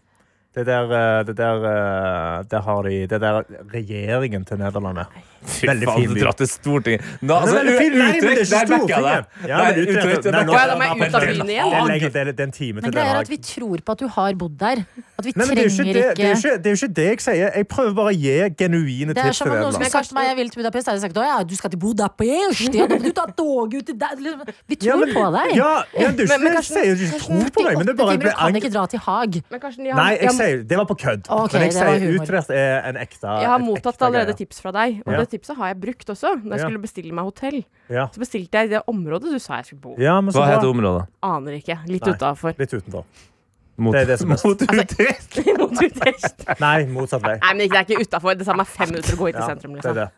[SPEAKER 6] Det der, eh, det der, eh, der har de Det der regjeringen til Nederland er.
[SPEAKER 4] Fy
[SPEAKER 6] Veldig
[SPEAKER 4] faen,
[SPEAKER 6] fin
[SPEAKER 4] du
[SPEAKER 6] by.
[SPEAKER 4] drar til Stortinget. Nå, altså,
[SPEAKER 6] veldig fin by, men det er
[SPEAKER 4] Utrecht,
[SPEAKER 6] ikke
[SPEAKER 4] der backer jeg deg.
[SPEAKER 6] Stortinget. Ja, men
[SPEAKER 4] Nei,
[SPEAKER 6] Utrecht-
[SPEAKER 4] Utrecht, der
[SPEAKER 6] Nei, nå-
[SPEAKER 4] backer jeg
[SPEAKER 5] da må jeg
[SPEAKER 4] deg.
[SPEAKER 5] ut av
[SPEAKER 4] Men
[SPEAKER 5] byen igjen.
[SPEAKER 4] den-
[SPEAKER 6] Det er lenge- det er- det er en time
[SPEAKER 2] Men
[SPEAKER 6] til Den
[SPEAKER 2] greia er at
[SPEAKER 6] Haag.
[SPEAKER 2] vi tror på at du har bodd der. At vi
[SPEAKER 6] Nei, men det, er
[SPEAKER 2] trenger
[SPEAKER 6] jo ikke det, det, er jo
[SPEAKER 2] ikke
[SPEAKER 6] ikke, det er jo ikke det jeg sier. Jeg prøver bare å gi genuine
[SPEAKER 2] det er
[SPEAKER 6] tips
[SPEAKER 2] som
[SPEAKER 6] til
[SPEAKER 2] om noen
[SPEAKER 6] Nederland.
[SPEAKER 2] som har sagt til meg jeg vil til Budapest, har jeg sagt å ja, du skal til Budapest, ja, da må du ta toget ut til der. Liksom, Vi
[SPEAKER 6] Ja,
[SPEAKER 2] tror
[SPEAKER 6] men-
[SPEAKER 2] på deg.
[SPEAKER 6] Ja, ja, du,
[SPEAKER 5] Men- men
[SPEAKER 6] jeg
[SPEAKER 5] Karsten-
[SPEAKER 6] sier jo ikke tro på meg, men det er bare
[SPEAKER 2] timer, du
[SPEAKER 6] ble
[SPEAKER 2] kan
[SPEAKER 6] ang...
[SPEAKER 2] ikke dra til Haag.
[SPEAKER 5] Men Karsten, jeg har,
[SPEAKER 6] Nei,
[SPEAKER 5] jeg,
[SPEAKER 6] jeg
[SPEAKER 5] har-
[SPEAKER 6] sier, det var på kødd.
[SPEAKER 2] Ok,
[SPEAKER 6] men jeg
[SPEAKER 2] det var
[SPEAKER 6] sier
[SPEAKER 2] humor.
[SPEAKER 6] Utrecht er en ekte
[SPEAKER 5] jeg har
[SPEAKER 6] et
[SPEAKER 5] mottatt
[SPEAKER 6] ekte
[SPEAKER 5] allerede
[SPEAKER 6] greie.
[SPEAKER 5] tips fra deg, og
[SPEAKER 6] Ja.
[SPEAKER 5] det tipset har jeg brukt også. Da jeg
[SPEAKER 6] Ja.
[SPEAKER 5] skulle bestille meg hotell,
[SPEAKER 6] Ja.
[SPEAKER 5] så bestilte jeg i det området du sa jeg skulle bo.
[SPEAKER 6] ja, men så
[SPEAKER 4] Hva heter
[SPEAKER 6] bra.
[SPEAKER 4] området?
[SPEAKER 5] Aner ikke. Litt
[SPEAKER 6] Nei.
[SPEAKER 5] utafor. [LAUGHS]
[SPEAKER 6] Litt utenfor.
[SPEAKER 4] Mot,
[SPEAKER 6] Det er det som er best.
[SPEAKER 4] mot Utrecht.
[SPEAKER 5] Mot
[SPEAKER 6] [LAUGHS]
[SPEAKER 5] Utrecht.
[SPEAKER 6] Nei, motsatt vei.
[SPEAKER 5] Nei, men ikke- det er ikke utafor. Det tar meg fem minutter å gå hit til
[SPEAKER 6] Ja,
[SPEAKER 5] sentrum.
[SPEAKER 6] det er
[SPEAKER 5] Liksom.
[SPEAKER 6] det.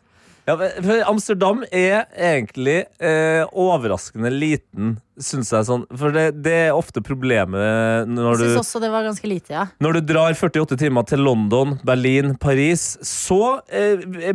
[SPEAKER 4] Ja, for Amsterdam er egentlig eh, overraskende liten, syns jeg. sånn For det, det er ofte problemet
[SPEAKER 2] Jeg
[SPEAKER 4] når du,
[SPEAKER 2] syns også det var ganske lite, ja.
[SPEAKER 4] når du drar 48 timer til London, Berlin, Paris. Så eh, blir,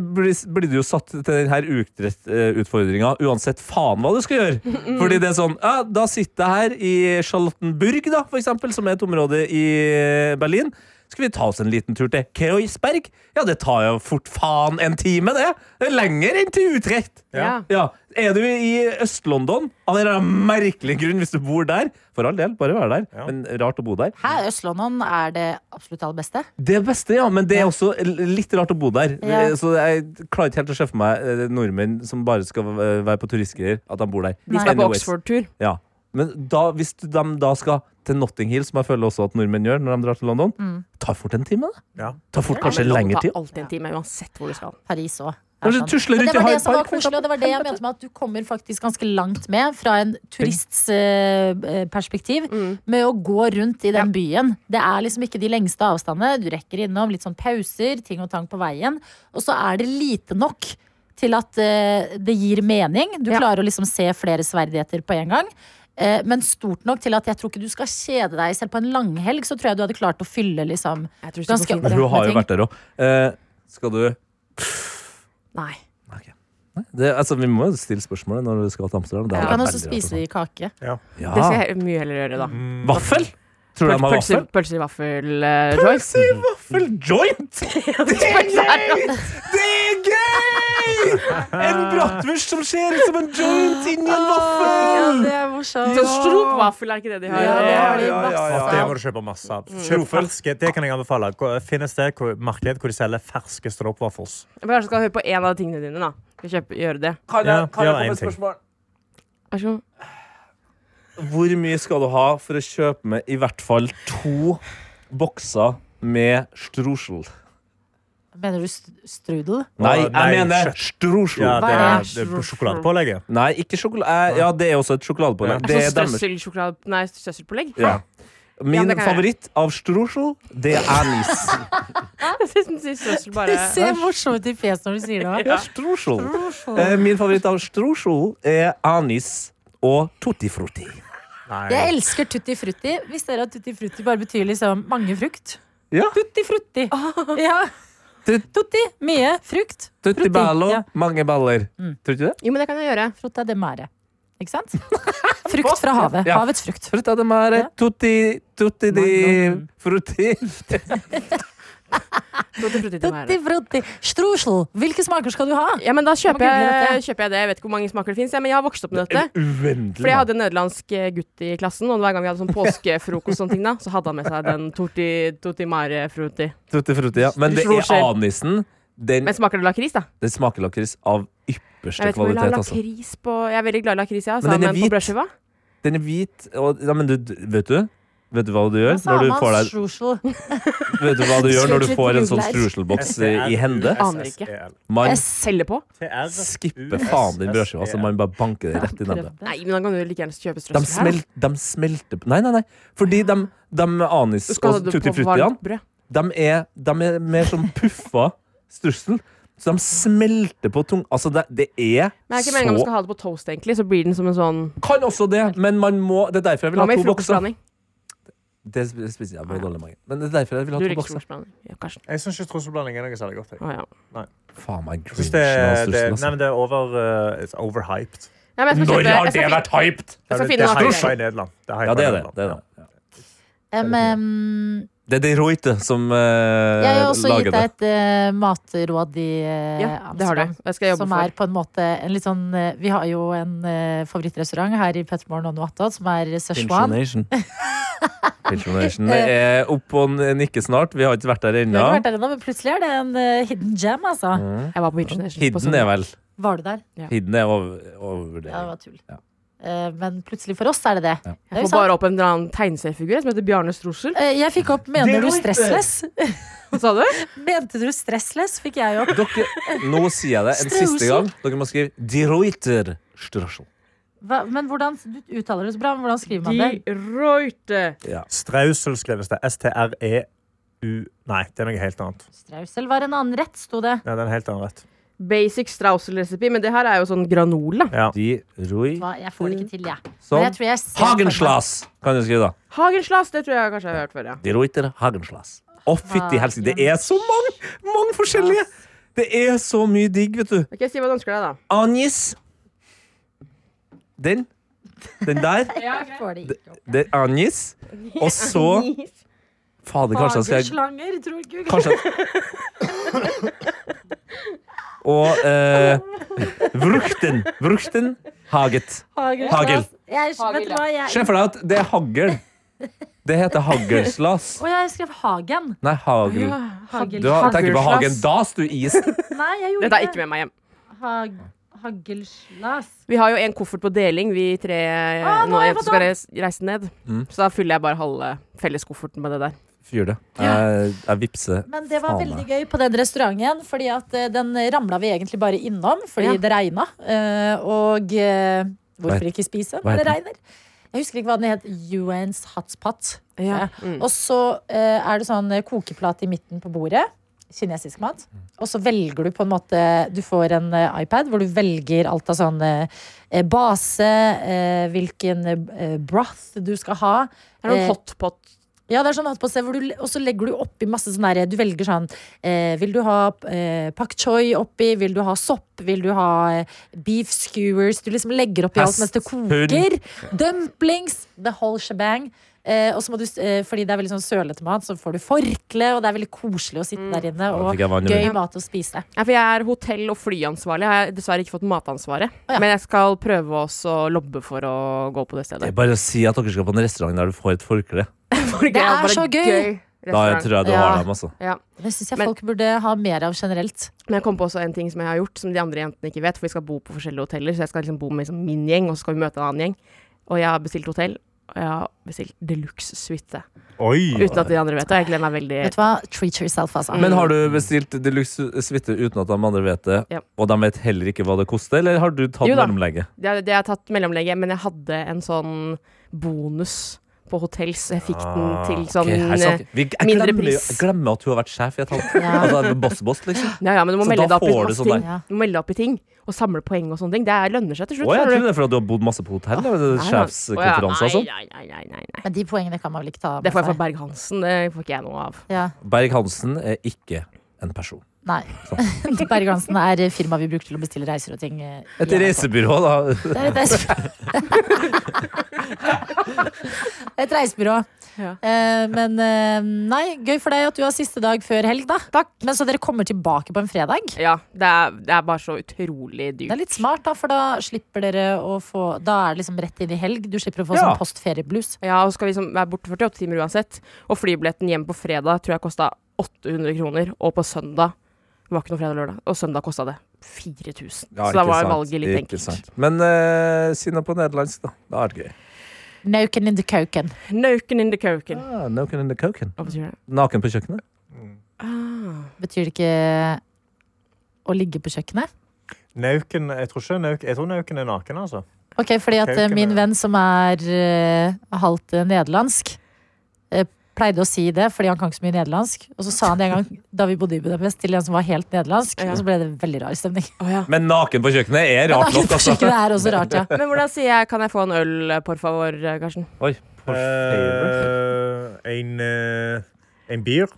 [SPEAKER 4] blir du jo satt til denne eh, utfordringa uansett faen hva du skal gjøre. Fordi det er sånn ja, Da sitter jeg her i Charlottenburg, da, for eksempel, som er et område i eh, Berlin. Skal vi ta oss en liten tur til Kreuzberg? Ja, det tar jo fort faen en time, det! Det er lenger enn til Utrecht!
[SPEAKER 5] Ja.
[SPEAKER 4] Ja, Er du i Øst-London, av en eller annen merkelig grunn, hvis du bor der For all del, bare vær der,
[SPEAKER 6] Ja.
[SPEAKER 4] men rart å bo der.
[SPEAKER 2] Her, Øst-London er det absolutt aller beste.
[SPEAKER 4] Det beste, ja, men det er også l- litt rart å bo der. Eh,
[SPEAKER 2] Ja.
[SPEAKER 4] Så jeg klarer ikke helt å se for meg eh, nordmenn som bare skal eh, være på turistgreier, at de bor der.
[SPEAKER 5] De skal på
[SPEAKER 4] Anyways.
[SPEAKER 5] Oxford-tur.
[SPEAKER 4] Ja. Men da, hvis de da skal til Notting Hill, som jeg føler også at nordmenn gjør når de drar til London, tar fort en time. da.
[SPEAKER 6] Ja.
[SPEAKER 4] Tar fort kanskje
[SPEAKER 5] Ja, men
[SPEAKER 4] lengre
[SPEAKER 5] Det
[SPEAKER 4] tid.
[SPEAKER 5] tar alltid en time, uansett hvor du skal.
[SPEAKER 2] Paris òg.
[SPEAKER 4] Når du tusler
[SPEAKER 2] Men
[SPEAKER 4] rundt
[SPEAKER 2] det
[SPEAKER 4] i
[SPEAKER 2] var det
[SPEAKER 4] Hyde
[SPEAKER 2] som var
[SPEAKER 4] Park, for
[SPEAKER 2] koselig, og det var det jeg mente med at du kommer faktisk ganske langt med fra en turists eh, perspektiv
[SPEAKER 4] Mm.
[SPEAKER 2] med å gå rundt i den byen. Det er liksom ikke de lengste avstandene. Du rekker innom litt sånn pauser, ting og tang på veien. Og så er det lite nok til at eh, det gir mening. Du
[SPEAKER 5] Ja.
[SPEAKER 2] klarer å liksom se flere sverdigheter på en gang. Eh, Men stort nok til at jeg tror ikke du skal kjede deg. Selv på en langhelg så tror jeg du hadde klart å fylle liksom
[SPEAKER 5] Jeg tror ikke
[SPEAKER 2] ganske
[SPEAKER 5] det går fint.
[SPEAKER 4] Men hun har
[SPEAKER 2] med
[SPEAKER 4] jo
[SPEAKER 2] ting.
[SPEAKER 4] vært der òg. Eh, skal du
[SPEAKER 5] Nei.
[SPEAKER 4] det, altså, Vi må jo stille spørsmålet når du skal til Amsterdam. Det
[SPEAKER 5] Ja.
[SPEAKER 2] Du
[SPEAKER 4] er
[SPEAKER 2] kan
[SPEAKER 4] veldig
[SPEAKER 2] også
[SPEAKER 4] rart å
[SPEAKER 2] spise i kake.
[SPEAKER 4] Ja.
[SPEAKER 5] Det skal jeg mye heller gjøre, da.
[SPEAKER 4] Vaffel? Tror du de har
[SPEAKER 5] Pølse,
[SPEAKER 4] vaffel?
[SPEAKER 5] pølse i vaffel, eh, Joyce.
[SPEAKER 2] [LAUGHS]
[SPEAKER 4] Vaffel joint! Det er gøy! Det er gøy! En bratwurst som ser ut som en joint
[SPEAKER 2] Ah,
[SPEAKER 4] inni en
[SPEAKER 5] Ja,
[SPEAKER 4] vaffel!
[SPEAKER 5] det er morsomt. Sånn Stropvaffel er ikke det de har?
[SPEAKER 2] Ja, det har de
[SPEAKER 3] ja, ja,
[SPEAKER 6] Ja, det
[SPEAKER 2] masse
[SPEAKER 6] må
[SPEAKER 2] av.
[SPEAKER 6] du kjøpe masse av. Kjøp ferske. Det kan jeg anbefale. Gå- Finn et sted, hvor- marked, hvor de selger ferske stropwaffels.
[SPEAKER 5] Men Kanskje skal høre på en av tingene dine, da. Vi kjøper, gjør det.
[SPEAKER 4] Kan
[SPEAKER 6] Ja,
[SPEAKER 4] jeg, kan jeg
[SPEAKER 6] gjør
[SPEAKER 4] få
[SPEAKER 6] en
[SPEAKER 4] et
[SPEAKER 6] ting.
[SPEAKER 4] spørsmål?
[SPEAKER 5] Vær så god.
[SPEAKER 4] Hvor mye skal du ha for å kjøpe med i hvert fall to bokser med strosel?
[SPEAKER 2] Mener du st- strudel?
[SPEAKER 4] Nei,
[SPEAKER 6] Å,
[SPEAKER 4] jeg
[SPEAKER 6] nei,
[SPEAKER 4] mener
[SPEAKER 6] kjøtt.
[SPEAKER 4] strosel.
[SPEAKER 6] Ja, det
[SPEAKER 2] Hva
[SPEAKER 6] er,
[SPEAKER 2] er
[SPEAKER 6] det er sjokoladepålegget.
[SPEAKER 4] Nei, ikke sjokolade. Eh, Ja, det er også et
[SPEAKER 6] Ja.
[SPEAKER 4] sjokoladepålegg.
[SPEAKER 5] Er det
[SPEAKER 4] Det er
[SPEAKER 5] sånn
[SPEAKER 4] deres.
[SPEAKER 5] strøsselsjokolade- Nei, strøsselpålegg?
[SPEAKER 4] Ja.
[SPEAKER 5] Ja,
[SPEAKER 4] Min
[SPEAKER 5] det kan jeg.
[SPEAKER 4] favoritt av strosel, det er anis.
[SPEAKER 5] [LAUGHS] Jeg synes den sier strøssel bare
[SPEAKER 2] Det ser morsomt ut i fjeset når du sier det.
[SPEAKER 4] Ja, strosel. Eh, Min favoritt av strosel er anis og tutti frutti.
[SPEAKER 2] Jeg
[SPEAKER 6] Nei.
[SPEAKER 2] elsker tutti frutti. Visste dere at tutti frutti bare betyr liksom mange frukt? Ah.
[SPEAKER 4] Ja.
[SPEAKER 2] Tutti frutti. Ja.
[SPEAKER 4] Tut-
[SPEAKER 2] Tutti, mye frukt.
[SPEAKER 4] Tutti
[SPEAKER 2] Frutti,
[SPEAKER 4] ballo,
[SPEAKER 2] ja.
[SPEAKER 4] mange baller.
[SPEAKER 2] Mm.
[SPEAKER 4] Tror du ikke det?
[SPEAKER 5] Jo, men det kan jeg gjøre.
[SPEAKER 2] Frutti det mare. Ikke sant? Frukt fra havet.
[SPEAKER 4] Ja.
[SPEAKER 2] Havets frukt.
[SPEAKER 4] Frutta de mare,
[SPEAKER 2] Ja.
[SPEAKER 4] eh, tutti, tutti di
[SPEAKER 2] Mango.
[SPEAKER 4] frutti. [LAUGHS]
[SPEAKER 5] Tutti frutti til meg,
[SPEAKER 2] Tutti frutti. Strusel. Hvilke smaker skal du ha?
[SPEAKER 5] da. Ja, men da
[SPEAKER 2] Du må
[SPEAKER 5] kjøper
[SPEAKER 2] google
[SPEAKER 5] jeg,
[SPEAKER 2] dette.
[SPEAKER 5] kjøper jeg det. Jeg vet ikke hvor mange smaker det fins, men jeg har vokst opp med dette.
[SPEAKER 4] Uendelig.
[SPEAKER 5] Fordi jeg hadde en nederlandsk eh, gutt i klassen, og hver gang vi hadde sånn påskefrokost, og sånne ting da, så hadde han med seg den torti, torti mare frutti.
[SPEAKER 4] Tutti frutti, ja. Men det er
[SPEAKER 5] Strosel.
[SPEAKER 4] anisen. Den,
[SPEAKER 5] Men smaker det lakris, da?
[SPEAKER 4] den smaker lakris av
[SPEAKER 5] Jeg
[SPEAKER 4] ypperste
[SPEAKER 5] vet ikke om jeg vil ha
[SPEAKER 4] kvalitet. Altså.
[SPEAKER 5] lakris på Jeg er veldig glad i lakris, ja, altså, men,
[SPEAKER 4] Men den er
[SPEAKER 5] på
[SPEAKER 4] hvit.
[SPEAKER 5] brødskiva?
[SPEAKER 4] Den er hvit. Og, ja, men du, vet du? Vet du hva du gjør
[SPEAKER 2] Hva sa
[SPEAKER 4] når du
[SPEAKER 2] man?
[SPEAKER 4] får, deg,
[SPEAKER 2] Strusel.
[SPEAKER 4] vet du hva du gjør når du
[SPEAKER 2] Strosel
[SPEAKER 4] får en sånn
[SPEAKER 2] til
[SPEAKER 4] struselboks i, i hende?
[SPEAKER 6] E
[SPEAKER 5] Aner ikke.
[SPEAKER 4] Man
[SPEAKER 5] Teller på?
[SPEAKER 6] Altså,
[SPEAKER 4] skipper faen din brødskive. Altså, man bare banker det rett i nebbet.
[SPEAKER 5] Nei, men da kan du like gjerne kjøpe
[SPEAKER 4] De,
[SPEAKER 5] strøssel her.
[SPEAKER 4] smel, de smelter på- Nei, nei, nei. Fordi de, de anis
[SPEAKER 5] Du skal
[SPEAKER 4] og
[SPEAKER 5] ha det
[SPEAKER 4] tutti
[SPEAKER 5] på
[SPEAKER 4] fruttiene
[SPEAKER 5] varmt brød.
[SPEAKER 4] de er, de er mer som puffa strussel. Så de smelter på tung... Altså, det, det er
[SPEAKER 5] Men jeg er ikke meningen om man
[SPEAKER 4] så
[SPEAKER 5] skal ha det på toast, egentlig, så blir den som en sånn
[SPEAKER 4] Kan også det, men man må Det er derfor jeg vil
[SPEAKER 5] Hva
[SPEAKER 4] ha
[SPEAKER 5] med
[SPEAKER 4] to bokser.
[SPEAKER 5] frokostblanding?
[SPEAKER 4] Det sp- spiser jeg med dårlig mage. Men det er derfor jeg vil
[SPEAKER 5] Du
[SPEAKER 4] ha
[SPEAKER 5] liker
[SPEAKER 4] to bokser.
[SPEAKER 5] frokostblanding? Ja, kanskje.
[SPEAKER 6] Jeg syns ikke trosselblanding er noe særlig godt. Jeg.
[SPEAKER 5] Å, ja.
[SPEAKER 4] Faen meg
[SPEAKER 6] Jeg synes
[SPEAKER 4] grinchen
[SPEAKER 6] det,
[SPEAKER 4] av
[SPEAKER 6] det,
[SPEAKER 4] strussel,
[SPEAKER 6] nei,
[SPEAKER 4] altså.
[SPEAKER 6] men det er over, eh, it's overhyped.
[SPEAKER 5] Nei, men jeg skal kjøpe, jeg skal finne,
[SPEAKER 4] hyped?
[SPEAKER 5] jeg skal
[SPEAKER 6] Det
[SPEAKER 5] finne
[SPEAKER 6] er
[SPEAKER 5] en annen
[SPEAKER 6] hypa
[SPEAKER 5] greie.
[SPEAKER 6] i Nederland. Det er hypa
[SPEAKER 4] Ja, det er
[SPEAKER 6] i
[SPEAKER 4] det.
[SPEAKER 6] Nederland.
[SPEAKER 4] Det er det. Ja.
[SPEAKER 2] Em, em,
[SPEAKER 4] Det er de Ruiter som eh,
[SPEAKER 2] jeg har også gitt
[SPEAKER 4] lager det.
[SPEAKER 2] deg et eh, matråd i eh,
[SPEAKER 5] Ja, det har
[SPEAKER 2] Amsterdam.
[SPEAKER 5] du. Jeg skal jobbe
[SPEAKER 2] Som
[SPEAKER 5] for
[SPEAKER 2] er på en måte en litt sånn eh, Vi har jo en eh, favorittrestaurant her i Pettermoren og Noatot, som er Szechuan.
[SPEAKER 3] Pensionation.
[SPEAKER 2] [LAUGHS]
[SPEAKER 4] Pensionation. Det er Eh, opp og n- nikke snart. Vi har ikke vært der
[SPEAKER 2] Vi
[SPEAKER 4] ennå.
[SPEAKER 2] har ikke vært der ennå, men plutselig er det en eh, hidden gem, altså.
[SPEAKER 4] Mm.
[SPEAKER 5] Jeg var på International. på
[SPEAKER 4] Hidden er vel
[SPEAKER 2] Var du der?
[SPEAKER 4] Hidden er over, overvurdering.
[SPEAKER 2] Ja, det var tull.
[SPEAKER 4] Ja.
[SPEAKER 2] Eh, men plutselig for oss er det det.
[SPEAKER 4] Ja.
[SPEAKER 2] Det er
[SPEAKER 5] Jeg
[SPEAKER 2] jo
[SPEAKER 5] får
[SPEAKER 2] sant.
[SPEAKER 5] bare opp en eller annen tegneseriefigur som heter Bjarne Strosel.
[SPEAKER 2] Eh, Jeg fikk opp 'Mener du stressless'? [LAUGHS]
[SPEAKER 5] Hva sa du?
[SPEAKER 2] Mente du stressless, fikk jeg opp.
[SPEAKER 4] Dere, nå sier jeg det en
[SPEAKER 2] Strusel.
[SPEAKER 4] siste gang. Dere må skrive De Ruiter Strøssel.
[SPEAKER 2] Hva, men hvordan, Du uttaler det så bra, men hvordan skriver man det?
[SPEAKER 5] De Ruite.
[SPEAKER 6] Strausel skrives det. S-T-R-E-U E Nei, det er noe helt annet.
[SPEAKER 2] Strausel var en annen rett, sto det.
[SPEAKER 6] Nei, det er en helt annen rett.
[SPEAKER 5] Basic Strausel-resipi, men det her er jo sånn granol, da.
[SPEAKER 6] Ja.
[SPEAKER 4] De Rui
[SPEAKER 2] Hva, jeg får det ikke til, jeg. Men jeg
[SPEAKER 4] Sånn.
[SPEAKER 2] tror jeg ser-
[SPEAKER 4] Hagenslas kan du skrive, da.
[SPEAKER 5] Hagenslas, det tror jeg kanskje jeg har hørt før, ja.
[SPEAKER 4] De Ruiter Hagenslas. Å, fytti helsike. Det er så mange, mange forskjellige! Det er så mye digg, vet du.
[SPEAKER 5] Ok, Si hva du ønsker deg, da.
[SPEAKER 4] Anis. Den. Den der.
[SPEAKER 2] Jeg får det ikke opp.
[SPEAKER 4] Det er anis.
[SPEAKER 2] [LAUGHS]
[SPEAKER 4] Og så Fader, kanskje jeg skal
[SPEAKER 2] Hageslanger, tror ikke vi
[SPEAKER 4] Kanskje
[SPEAKER 2] [LAUGHS]
[SPEAKER 4] Og eh, Vrukten. Vrukten haget. Hagel.
[SPEAKER 2] Jeg, vet du hva, jeg
[SPEAKER 4] Se for deg at det er hagl. Det heter haglslas.
[SPEAKER 2] Å, jeg skrev Hagen.
[SPEAKER 4] Nei, hagl.
[SPEAKER 2] Hagel.
[SPEAKER 4] Du har- tenker på hagen.
[SPEAKER 5] Haglslas.
[SPEAKER 4] Das, du is.
[SPEAKER 2] Nei, jeg gjorde
[SPEAKER 5] Dette er ikke med meg hjem.
[SPEAKER 2] Hag Hagelslas.
[SPEAKER 5] Vi har jo en koffert på deling, vi tre eh,
[SPEAKER 2] Å, Ah, nå
[SPEAKER 5] nå
[SPEAKER 2] har jeg
[SPEAKER 5] jeg
[SPEAKER 2] fått
[SPEAKER 5] skal reis- reise ned.
[SPEAKER 4] Mm.
[SPEAKER 5] Så da fyller jeg bare halve felleskofferten med det der.
[SPEAKER 4] Fyr det. Jeg, jeg vipser.
[SPEAKER 2] Men det var
[SPEAKER 4] Faen,
[SPEAKER 2] veldig
[SPEAKER 4] jeg.
[SPEAKER 2] gøy på den restauranten, fordi at eh, den ramla vi egentlig bare innom fordi
[SPEAKER 5] Ja.
[SPEAKER 2] det regna. Eh, og eh, hvorfor
[SPEAKER 4] Hva
[SPEAKER 2] ikke spise
[SPEAKER 4] hva
[SPEAKER 2] når det
[SPEAKER 4] heter
[SPEAKER 2] regner? Jeg husker ikke hva den het. Yuans hotspot.
[SPEAKER 5] Ja.
[SPEAKER 2] Ja. Og så eh, er det sånn eh, kokeplate i midten på bordet. Kinesisk mat. Og så velger du på en måte Du får en eh, iPad hvor du velger alt av sånn eh, base, eh, hvilken eh, broth du skal ha.
[SPEAKER 5] Det er
[SPEAKER 2] Eh,
[SPEAKER 5] noen hotpot.
[SPEAKER 2] ja, det er sånn hotpot hvor du, og så legger du oppi masse sånn der Du velger sånn eh, Vil du ha eh, pak choi oppi? Vil du ha sopp? Vil du ha eh, beef skewers? Du liksom legger oppi alt
[SPEAKER 4] Hest,
[SPEAKER 2] mens det koker. Dumplings. The whole shebang. Eh, og så må du, s- eh, fordi det er veldig sånn sølete mat, så får du forkle, og det er veldig koselig å sitte der inne.
[SPEAKER 4] Ja, da fikk
[SPEAKER 2] Og
[SPEAKER 4] jeg vann i munnen.
[SPEAKER 2] gøy mat å spise.
[SPEAKER 5] Ja, for jeg er hotell- og flyansvarlig. Jeg har dessverre ikke fått matansvaret.
[SPEAKER 2] Å, ja.
[SPEAKER 5] Men jeg skal prøve også å lobbe for å gå på det
[SPEAKER 4] Det
[SPEAKER 5] stedet.
[SPEAKER 4] er bare å si at dere skal på en restaurant der du får et forkle.
[SPEAKER 5] [LAUGHS] For
[SPEAKER 2] Det
[SPEAKER 5] gøy,
[SPEAKER 2] er
[SPEAKER 5] bare
[SPEAKER 2] så gøy!
[SPEAKER 4] Da
[SPEAKER 5] restaurant.
[SPEAKER 4] tror jeg du
[SPEAKER 5] Ja.
[SPEAKER 4] har dem, altså.
[SPEAKER 5] Ja.
[SPEAKER 2] Det syns jeg
[SPEAKER 5] Men-
[SPEAKER 2] folk burde ha mer av generelt.
[SPEAKER 5] Men jeg kom på også en ting som jeg har gjort, som de andre jentene ikke vet. For vi skal bo på forskjellige hoteller, så jeg skal liksom bo med liksom min gjeng, og så skal vi møte en annen gjeng. Og jeg har bestilt hotell, og jeg har bestilt deluxe suite.
[SPEAKER 6] Oi!
[SPEAKER 5] Uten at de andre vet det. og Jeg gleder meg veldig.
[SPEAKER 2] Vet du hva? Treat yourself, altså.
[SPEAKER 4] Men har du bestilt deluxe suite uten at de andre vet det,
[SPEAKER 5] Ja.
[SPEAKER 4] og de vet heller ikke hva det koster, eller har du tatt
[SPEAKER 5] Jo da.
[SPEAKER 4] mellomlegget?
[SPEAKER 5] Det har, det har jeg tatt mellomlegget, men jeg hadde en sånn bonus på hotell, så jeg fikk den til sånn
[SPEAKER 4] Ah, Ok, her snakker-
[SPEAKER 5] eh,
[SPEAKER 4] Vi- jeg
[SPEAKER 5] mindre
[SPEAKER 4] glemmer jo-
[SPEAKER 5] pris.
[SPEAKER 4] Jeg glemmer at hun har vært sjef i et halvt
[SPEAKER 2] Ja.
[SPEAKER 4] Altså er det boss-boss,
[SPEAKER 5] [LAUGHS]
[SPEAKER 4] liksom.
[SPEAKER 5] Ja, ja, men du må
[SPEAKER 4] Så
[SPEAKER 5] melde
[SPEAKER 4] da
[SPEAKER 5] deg opp i
[SPEAKER 4] får du
[SPEAKER 5] masse
[SPEAKER 4] sånn
[SPEAKER 5] ting.
[SPEAKER 2] der. Ja.
[SPEAKER 5] Du må melde deg opp i ting, og samle poeng og sånne ting. Det er- lønner seg til
[SPEAKER 4] Å,
[SPEAKER 5] slutt. skjønner
[SPEAKER 4] jeg trodde
[SPEAKER 5] du.
[SPEAKER 4] det er fordi du har bodd masse på hotell. og det er
[SPEAKER 5] Nei, nei.
[SPEAKER 4] Sjefskonferanse og
[SPEAKER 5] Å, ja,
[SPEAKER 4] sånn.
[SPEAKER 5] Nei, nei, nei, nei, nei.
[SPEAKER 2] Men de poengene kan man vel ikke ta med
[SPEAKER 5] Det får jeg fra
[SPEAKER 2] seg?
[SPEAKER 5] Berg-Hansen. Det får ikke jeg noe av.
[SPEAKER 2] Ja.
[SPEAKER 4] Berg-Hansen er ikke en person.
[SPEAKER 2] Nei. [LAUGHS] Berg-Hansen er firmaet vi bruker til å bestille reiser og ting. eh,
[SPEAKER 4] Et
[SPEAKER 2] i NRK.
[SPEAKER 4] reisebyrå, da.
[SPEAKER 2] Det er et reisebyrå. et reisebyrå. [LAUGHS]
[SPEAKER 5] Ja.
[SPEAKER 2] Eh, men eh, nei, gøy for deg at du har siste dag før helg, da. Takk. Men så dere kommer tilbake på en fredag?
[SPEAKER 5] Ja, det er, det er bare så utrolig dyrt.
[SPEAKER 2] Det er litt smart, da, for da slipper dere å få Da er det liksom rett inn i helg. Du slipper å få
[SPEAKER 4] Ja.
[SPEAKER 2] sånn postferieblues.
[SPEAKER 5] Ja, og skal vi liksom være borte 48 timer uansett. Og flybilletten hjem på fredag tror jeg kosta 800 kroner. Og på søndag Det var ikke noe fredag og lørdag. Og søndag kosta det 4000.
[SPEAKER 4] [LAUGHS]
[SPEAKER 5] så da var valget litt enkelt.
[SPEAKER 4] Men uh, si noe på nederlandsk, da. Det er det gøy.
[SPEAKER 2] Nauken in the coken.
[SPEAKER 5] Nauken in the coken.
[SPEAKER 4] Ah, Noken in the coken.
[SPEAKER 5] Hva betyr det?
[SPEAKER 4] Naken på kjøkkenet?
[SPEAKER 5] Ah.
[SPEAKER 2] Betyr det ikke å ligge på kjøkkenet?
[SPEAKER 6] Nauken Jeg tror ikke nauk, jeg tror nauken er naken, altså.
[SPEAKER 2] Ok, fordi at eh,
[SPEAKER 6] Kauken
[SPEAKER 2] min
[SPEAKER 6] er-
[SPEAKER 2] venn som er eh, halvt eh, nederlandsk, eh, pleide å si det fordi han kan ikke så mye nederlandsk. Og så sa han det en gang [LAUGHS] da vi bodde i Budapest, til en som var helt nederlandsk.
[SPEAKER 5] Ja.
[SPEAKER 2] Og så ble det veldig rar stemning.
[SPEAKER 5] Å ja.
[SPEAKER 4] Men naken på kjøkkenet er rart
[SPEAKER 2] [LAUGHS]
[SPEAKER 4] nok, altså.
[SPEAKER 2] Det er også rart, ja.
[SPEAKER 5] Men hvordan sier jeg 'kan jeg få en øl, eh, por favor', Karsten?
[SPEAKER 4] Oi, por favor.
[SPEAKER 6] Eh, en, eh, en bier.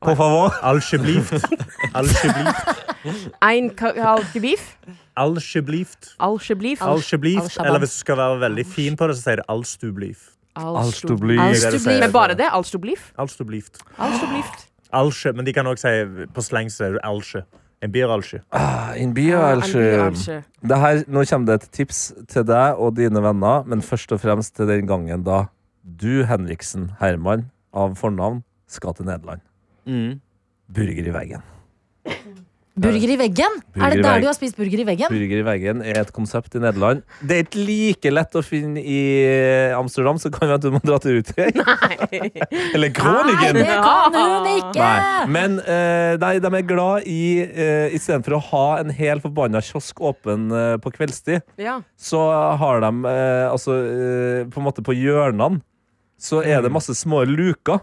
[SPEAKER 4] Por favor. [LAUGHS]
[SPEAKER 6] Alsjeblieft. Alsjeblieft.
[SPEAKER 5] Ein kalkebeef?
[SPEAKER 6] Alsjeblieft.
[SPEAKER 5] Alsjeblief?
[SPEAKER 6] Alsjeblieft.
[SPEAKER 2] Alshabam.
[SPEAKER 6] Eller hvis du skal være veldig fin på det, så sier det alstublieft.
[SPEAKER 2] Alst-
[SPEAKER 6] Det er det du
[SPEAKER 2] Alstublieft.
[SPEAKER 6] sier.
[SPEAKER 5] Men bare det? Alstoblief?
[SPEAKER 6] Alstublieft.
[SPEAKER 5] Alstoblieft.
[SPEAKER 6] Alsje, men de kan også si på slang så sier du alsje. En bier alsje.
[SPEAKER 4] Ah, in bio, altså. Det her, nå kommer det et tips til deg og dine venner, men først og fremst til den gangen da du, Henriksen Herman, av fornavn, skal til Nederland.
[SPEAKER 3] Mm.
[SPEAKER 4] Burger i veggen.
[SPEAKER 2] Burger i veggen?
[SPEAKER 4] Burger
[SPEAKER 2] er
[SPEAKER 4] i
[SPEAKER 2] det der
[SPEAKER 4] veggen.
[SPEAKER 2] du har spist burger i veggen?
[SPEAKER 4] Burger i veggen er et konsept i Nederland. Det er ikke like lett å finne i eh, Amsterdam, så kan vi at du må dra til Utøya. Eller
[SPEAKER 2] Nei,
[SPEAKER 4] Groningen!
[SPEAKER 2] det kan hun ikke!
[SPEAKER 4] Nei. Men eh, nei, de er glad i eh, Istedenfor å ha en hel forbanna kiosk åpen eh, på kveldstid,
[SPEAKER 5] [LAUGHS] Ja.
[SPEAKER 4] så har de eh, altså eh, på en måte på hjørnene så er
[SPEAKER 6] Mm.
[SPEAKER 4] det masse små luker,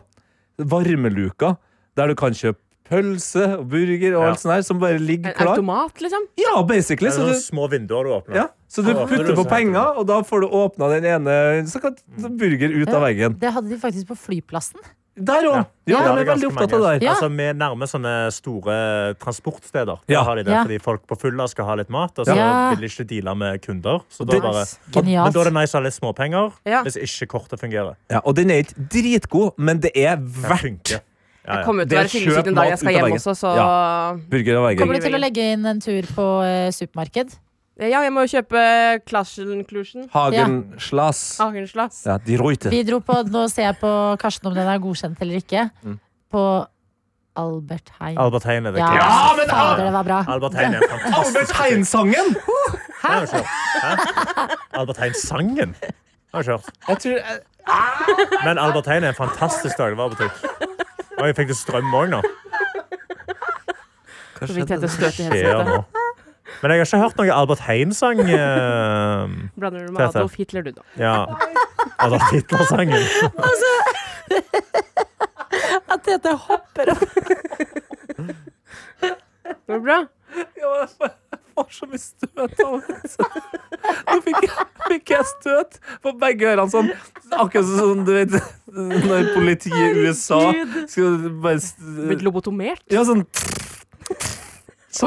[SPEAKER 4] varmeluker, der du kan kjøpe pølse og burger og
[SPEAKER 6] Ja.
[SPEAKER 4] alt sånt der, som bare ligger
[SPEAKER 5] En
[SPEAKER 4] klar.
[SPEAKER 5] automat, liksom?
[SPEAKER 4] Ja, basically.
[SPEAKER 6] Det er
[SPEAKER 4] Så
[SPEAKER 6] sånne
[SPEAKER 4] du,
[SPEAKER 6] små vinduer du åpner.
[SPEAKER 4] ja, så du
[SPEAKER 6] Ja, det
[SPEAKER 4] putter
[SPEAKER 6] er
[SPEAKER 4] på
[SPEAKER 6] sånn.
[SPEAKER 4] penger, og da får du åpna den ene så kan
[SPEAKER 6] Mm.
[SPEAKER 4] burger ut av veggen.
[SPEAKER 2] Det hadde de faktisk på flyplassen.
[SPEAKER 4] Der òg! Ja,
[SPEAKER 6] Ja, det er
[SPEAKER 4] de er veldig
[SPEAKER 6] ganske
[SPEAKER 4] opptatt av
[SPEAKER 6] mange.
[SPEAKER 4] det der.
[SPEAKER 2] Ja.
[SPEAKER 6] Altså, vi nærmer sånne store eh, transportsteder.
[SPEAKER 4] Ja.
[SPEAKER 6] Da har de det,
[SPEAKER 2] Ja.
[SPEAKER 6] Fordi folk på fylla skal ha litt mat, og så
[SPEAKER 2] Ja.
[SPEAKER 6] vil de ikke deale med kunder. Så da
[SPEAKER 4] Det-
[SPEAKER 6] bare, men
[SPEAKER 2] Genialt.
[SPEAKER 6] da er det nice å ha litt småpenger
[SPEAKER 5] Ja.
[SPEAKER 6] hvis ikke kortet fungerer.
[SPEAKER 4] Ja, og den er ikke dritgod, men det er
[SPEAKER 6] Det
[SPEAKER 4] verdt
[SPEAKER 6] funker. Ja,
[SPEAKER 5] Jeg
[SPEAKER 6] ja.
[SPEAKER 5] kommer jo til å
[SPEAKER 4] Det er
[SPEAKER 5] være fyllesyk
[SPEAKER 4] kjøp
[SPEAKER 5] en dag
[SPEAKER 4] mat
[SPEAKER 5] jeg skal
[SPEAKER 4] ut av
[SPEAKER 5] hjem
[SPEAKER 4] veggen.
[SPEAKER 5] også, så
[SPEAKER 4] burger av veggen.
[SPEAKER 2] Kommer du til å legge inn en tur på eh, supermarked?
[SPEAKER 5] Ja, jeg må jo kjøpe Klasjenklusjen.
[SPEAKER 4] Hagen Slass.
[SPEAKER 5] Akenslass.
[SPEAKER 4] Ja, de Ruiter.
[SPEAKER 2] Vi dro på Nå ser jeg på Karsten om den er godkjent eller ikke.
[SPEAKER 4] Mm.
[SPEAKER 2] På Albert Heijn.
[SPEAKER 6] Albert Heijn er det
[SPEAKER 2] Ja,
[SPEAKER 6] kuleste.
[SPEAKER 2] men fader, det var bra.
[SPEAKER 6] Albert Heijn er fantastisk.
[SPEAKER 4] Tegnsangen!
[SPEAKER 6] Det har jeg ikke hørt. Hæ? Albert Heijn-sangen har jeg ikke hørt.
[SPEAKER 4] Jeg tror jeg-
[SPEAKER 6] Men Albert Heijn er en fantastisk dagligvarebutikk. Og jeg fikk det strøm òg nå.
[SPEAKER 5] Så vidt heter støt i
[SPEAKER 6] skjer
[SPEAKER 5] helsetet.
[SPEAKER 6] nå? Men jeg har ikke hørt noen Albert Heijn-sang. eh,
[SPEAKER 5] Blander du med
[SPEAKER 6] Tete.
[SPEAKER 5] Adolf Hitler, du, da?
[SPEAKER 6] ja. Adolf Hitler-sangen.
[SPEAKER 2] At dette hopper
[SPEAKER 5] [LAUGHS]
[SPEAKER 2] opp.
[SPEAKER 5] Går det bra?
[SPEAKER 4] Ja, men jeg får så mye støt av det. Nå fikk jeg, fikk jeg støt på begge ørene. Sånn. Akkurat sånn du vet når politiet i USA skal bare s-
[SPEAKER 5] Blitt lobotomert?
[SPEAKER 4] Ja, sånn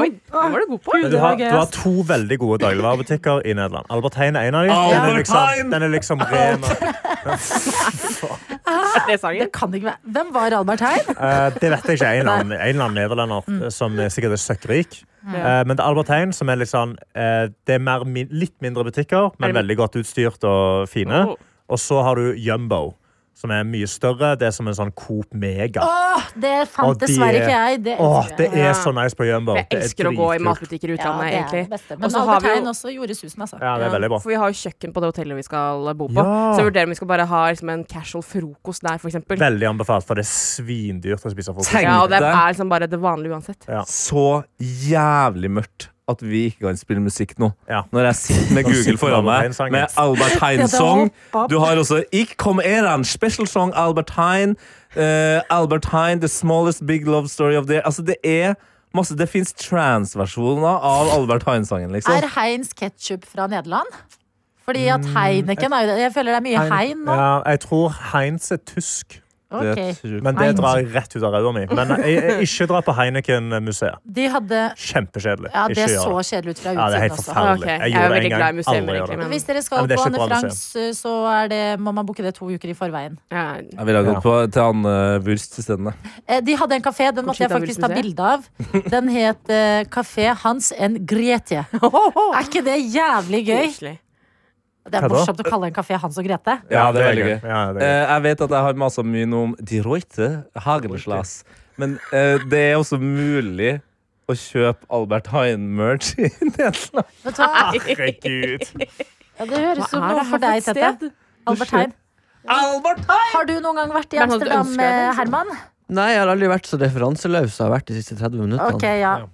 [SPEAKER 5] Oi, det var du god på.
[SPEAKER 6] sånn. Men Du har, du har to veldig gode dagligvarebutikker i Nederland. Albert Heijn er en av dem. liksom- Den er
[SPEAKER 4] Albert
[SPEAKER 6] liksom,
[SPEAKER 4] Heijn!
[SPEAKER 6] den er liksom ren. og-
[SPEAKER 5] Er det sangen?
[SPEAKER 2] Det kan ikke være. Hvem var Albert Heijn?
[SPEAKER 6] Eh, det vet jeg ikke. En eller annen, en eller annen nederlender eh, som er sikkert er søkkrik. Eh, men det er Albert Heijn som er litt sånn eh, Det er mer, min, litt mindre butikker, men
[SPEAKER 5] Er det-
[SPEAKER 6] veldig godt utstyrt og fine.
[SPEAKER 5] Oh.
[SPEAKER 6] Og så har du Jumbo, som er mye større. Det er som en sånn Coop Mega.
[SPEAKER 2] Åh, [LAUGHS] det
[SPEAKER 6] Og
[SPEAKER 2] fant
[SPEAKER 6] de-
[SPEAKER 2] dessverre ikke jeg. Det
[SPEAKER 6] Åh, det
[SPEAKER 5] Ja.
[SPEAKER 6] er så nice på Jumbo.
[SPEAKER 5] Jeg
[SPEAKER 6] Det er
[SPEAKER 5] elsker å gå i
[SPEAKER 6] dritkult.
[SPEAKER 5] matbutikker
[SPEAKER 2] Ja,
[SPEAKER 5] i
[SPEAKER 2] det
[SPEAKER 5] utlandet,
[SPEAKER 2] er det
[SPEAKER 5] egentlig.
[SPEAKER 2] beste. Men
[SPEAKER 5] Og så har
[SPEAKER 2] Albert
[SPEAKER 5] vi jo-
[SPEAKER 2] Heijn også gjorde susen, altså.
[SPEAKER 6] Ja, det er veldig bra.
[SPEAKER 5] For vi har jo kjøkken på det hotellet vi skal bo på.
[SPEAKER 6] Ja.
[SPEAKER 5] Så jeg vurderer om vi skal bare ha liksom, en casual frokost der, for eksempel.
[SPEAKER 6] Veldig anbefalt, for det er svindyrt å spise frokost.
[SPEAKER 4] Tenk-
[SPEAKER 5] Ja, og det
[SPEAKER 4] tenkte-
[SPEAKER 5] er liksom bare det vanlige uansett.
[SPEAKER 6] Ja.
[SPEAKER 4] så jævlig mørkt at vi ikke kan spille musikk nå.
[SPEAKER 6] Ja.
[SPEAKER 4] Når jeg sitter med
[SPEAKER 6] Da
[SPEAKER 4] Google
[SPEAKER 6] sitter
[SPEAKER 4] foran
[SPEAKER 6] Albert
[SPEAKER 4] meg
[SPEAKER 6] Heijn-sangen.
[SPEAKER 4] med Albert Heijn-song. Du har også Ikk kom eran, special song Albert Heijn. eh, Albert Heijn, The Smallest Big Love Story of the Altså, det er masse Det fins transversjoner av Albert Heijn-sangen, liksom.
[SPEAKER 2] Er Heins ketsjup fra Nederland? Fordi at Heineken er jo det. Jeg føler det er mye Hein nå.
[SPEAKER 6] Mm, Ja, jeg tror Heinz er tysk,
[SPEAKER 2] Ok.
[SPEAKER 4] tror jeg.
[SPEAKER 6] men det
[SPEAKER 2] Heinz.
[SPEAKER 6] drar jeg rett ut av ræva mi. Men jeg, jeg, ikke dra på Heineken-museet.
[SPEAKER 2] De hadde
[SPEAKER 6] Kjempekjedelig.
[SPEAKER 2] Ja, det
[SPEAKER 6] Ikke gjør
[SPEAKER 2] så kjedelig ut fra
[SPEAKER 6] Ja, det er
[SPEAKER 2] utsiden
[SPEAKER 6] helt
[SPEAKER 2] også.
[SPEAKER 6] forferdelig.
[SPEAKER 5] Ok, jeg
[SPEAKER 6] gjorde
[SPEAKER 5] er
[SPEAKER 6] det en
[SPEAKER 5] veldig
[SPEAKER 6] gang.
[SPEAKER 5] glad i museer,
[SPEAKER 6] Aldri gjør
[SPEAKER 5] egentlig,
[SPEAKER 6] det.
[SPEAKER 5] men-
[SPEAKER 2] Hvis dere
[SPEAKER 6] Ja,
[SPEAKER 2] skal
[SPEAKER 6] men det er
[SPEAKER 2] på
[SPEAKER 6] ikke
[SPEAKER 2] Anne
[SPEAKER 6] et bra
[SPEAKER 2] Franks, så er det, må man booke det to uker i forveien.
[SPEAKER 5] Ja.
[SPEAKER 4] Jeg ville ha gått
[SPEAKER 6] Ja.
[SPEAKER 4] på, til Anne Wurst isteden. jeg.
[SPEAKER 2] Eh, De hadde en kafé, den måtte jeg
[SPEAKER 5] Conchita
[SPEAKER 2] faktisk ta
[SPEAKER 5] Wurst-museet.
[SPEAKER 2] bilde
[SPEAKER 6] [LAUGHS]
[SPEAKER 2] av. Den het eh, Kafé Hans en Grete. Er ikke det jævlig gøy?
[SPEAKER 5] Koselig.
[SPEAKER 2] Det er
[SPEAKER 6] Hva da?
[SPEAKER 2] morsomt å kalle en kafé Hans og Grete.
[SPEAKER 4] Ja, det er veldig gøy.
[SPEAKER 6] Ja, det er gøy.
[SPEAKER 4] Eh, jeg vet at jeg har masa mye nå om De Ruite Hagenslass. Men eh, det er også mulig å kjøpe Albert Heijn-merch i Nederland.
[SPEAKER 2] Vet du hva?
[SPEAKER 6] Herregud.
[SPEAKER 2] Ja, Ah! det høres ut
[SPEAKER 5] Hva er
[SPEAKER 2] noe
[SPEAKER 5] det her
[SPEAKER 2] for
[SPEAKER 5] for
[SPEAKER 2] deg,
[SPEAKER 5] et
[SPEAKER 2] Tette.
[SPEAKER 5] sted?
[SPEAKER 2] Albert Heijn. Har du noen gang vært i
[SPEAKER 5] Men hadde du
[SPEAKER 2] Amsterdam,
[SPEAKER 5] ønsket deg det?
[SPEAKER 2] eh, Herman?
[SPEAKER 3] Nei, jeg har aldri vært så referanseløs som jeg har vært de siste 30 minuttene.
[SPEAKER 2] Ok, ja.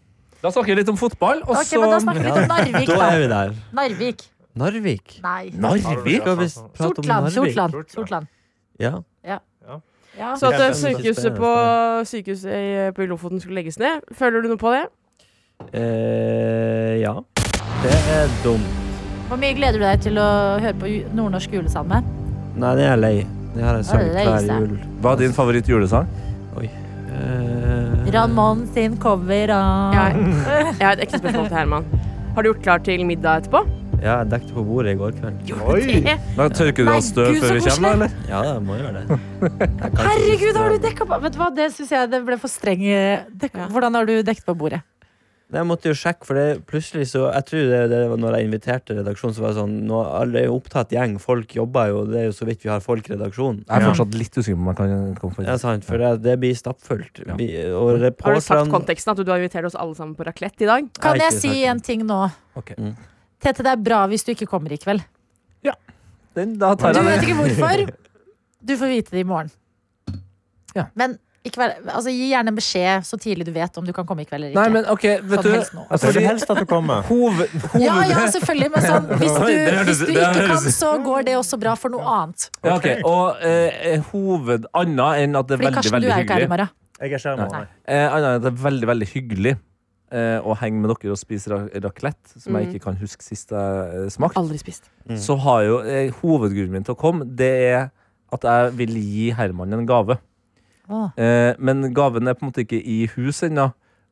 [SPEAKER 4] Da snakker vi litt om fotball, og
[SPEAKER 2] Ok, men Da snakker vi litt om Narvik,
[SPEAKER 3] Da er vi
[SPEAKER 2] da.
[SPEAKER 3] der.
[SPEAKER 2] Narvik.
[SPEAKER 3] Narvik.
[SPEAKER 2] Nei.
[SPEAKER 4] Narvik?
[SPEAKER 3] Skal vi s- prate om
[SPEAKER 2] Sortland.
[SPEAKER 3] Narvik?
[SPEAKER 2] Sortland. Sortland.
[SPEAKER 3] Ja.
[SPEAKER 2] Ja.
[SPEAKER 5] Så at eh,
[SPEAKER 3] Kjempe-
[SPEAKER 5] sykehuset på, sykehuset i- eh, på Lofoten skulle legges ned, føler du noe på det?
[SPEAKER 3] Eh, ja. Det er dumt.
[SPEAKER 2] Hvor mye gleder du deg til å høre på ju- nordnorsk julesalme?
[SPEAKER 3] Nei, det er jeg lei. Det har jeg sagt
[SPEAKER 2] lei
[SPEAKER 3] hver
[SPEAKER 2] seg.
[SPEAKER 3] jul.
[SPEAKER 4] Hva er din favorittjulesang?
[SPEAKER 3] Eh,
[SPEAKER 2] Ramón sin cover av
[SPEAKER 5] Jeg, jeg har et ekte spørsmål til Herman. Har du gjort klar til middag etterpå?
[SPEAKER 3] Ja, jeg dekket på bordet i går kveld.
[SPEAKER 6] Oi.
[SPEAKER 4] Da tørker du
[SPEAKER 2] Nei,
[SPEAKER 4] av støv
[SPEAKER 2] Gud, så
[SPEAKER 4] før vi
[SPEAKER 2] koselig.
[SPEAKER 4] kommer, eller?
[SPEAKER 3] Ja, jeg må
[SPEAKER 5] [LAUGHS]
[SPEAKER 3] gjøre det.
[SPEAKER 2] Herregud, har du dekka på Vet du hva, det syns jeg det ble for streng eh, dekk-
[SPEAKER 5] Ja.
[SPEAKER 2] Hvordan har du dekket på bordet?
[SPEAKER 3] Nei, Jeg måtte jo sjekke, for det plutselig så Jeg tror det, det var når jeg inviterte redaksjonen, så var det sånn nå, Alle er jo opptatt gjeng, folk jobber jo, det er jo så vidt vi har folk i redaksjonen.
[SPEAKER 4] Jeg er
[SPEAKER 6] Ja.
[SPEAKER 4] fortsatt litt usikker på om jeg kan komme for
[SPEAKER 3] Ja, sant, for det, det blir stappfullt.
[SPEAKER 4] Ja.
[SPEAKER 3] Vi, og
[SPEAKER 5] Har du sagt
[SPEAKER 3] reporterne
[SPEAKER 5] konteksten at du har invitert oss alle sammen på raclette i dag?
[SPEAKER 2] Kan
[SPEAKER 3] Nei,
[SPEAKER 2] jeg
[SPEAKER 3] ikke
[SPEAKER 2] si
[SPEAKER 3] sagt.
[SPEAKER 2] en ting nå?
[SPEAKER 4] Ok.
[SPEAKER 3] Mm.
[SPEAKER 2] Tete, det er bra hvis du ikke kommer i kveld.
[SPEAKER 4] Den, da
[SPEAKER 2] Du
[SPEAKER 4] tar jeg
[SPEAKER 2] vet
[SPEAKER 4] den.
[SPEAKER 2] ikke hvorfor. Du får vite det i morgen.
[SPEAKER 4] Ja.
[SPEAKER 2] Men ikke vær, altså, gi gjerne beskjed så tidlig du vet om du kan komme i kveld eller ikke.
[SPEAKER 4] Nei, men OK, vet
[SPEAKER 2] sånn
[SPEAKER 4] du altså,
[SPEAKER 2] helst nå.
[SPEAKER 6] Jeg tror
[SPEAKER 4] Fordi-
[SPEAKER 6] helst at du kommer.
[SPEAKER 4] Hoved...
[SPEAKER 2] Ja,
[SPEAKER 4] hoved
[SPEAKER 2] ja, selvfølgelig, men
[SPEAKER 4] [LAUGHS]
[SPEAKER 2] sånn, hvis
[SPEAKER 4] Oi, det
[SPEAKER 2] du,
[SPEAKER 4] hørtes-
[SPEAKER 2] hvis du
[SPEAKER 4] det
[SPEAKER 2] ikke kan,
[SPEAKER 4] hørtes-
[SPEAKER 2] så går det også bra for noe annet.
[SPEAKER 4] Ja, ok. Og eh, hoved Annet enn at det er
[SPEAKER 2] Fordi
[SPEAKER 4] veldig,
[SPEAKER 2] Karsten, du
[SPEAKER 4] veldig
[SPEAKER 2] er jo ikke her
[SPEAKER 4] hyggelig.
[SPEAKER 2] i morgen.
[SPEAKER 6] Jeg er ikke her i
[SPEAKER 2] Nei.
[SPEAKER 6] morgen.
[SPEAKER 4] Eh, annet enn at det er veldig, veldig hyggelig eh, å henge med dere og spise ra raclette, som jeg
[SPEAKER 5] Mm.
[SPEAKER 4] ikke kan huske sist jeg eh, smakte.
[SPEAKER 5] Aldri spist.
[SPEAKER 4] Så har jo eh, hovedgrunnen min til å komme, det er at jeg vil gi Herman en gave.
[SPEAKER 2] Åh.
[SPEAKER 4] Eh, men gaven er på en måte ikke i hus ennå.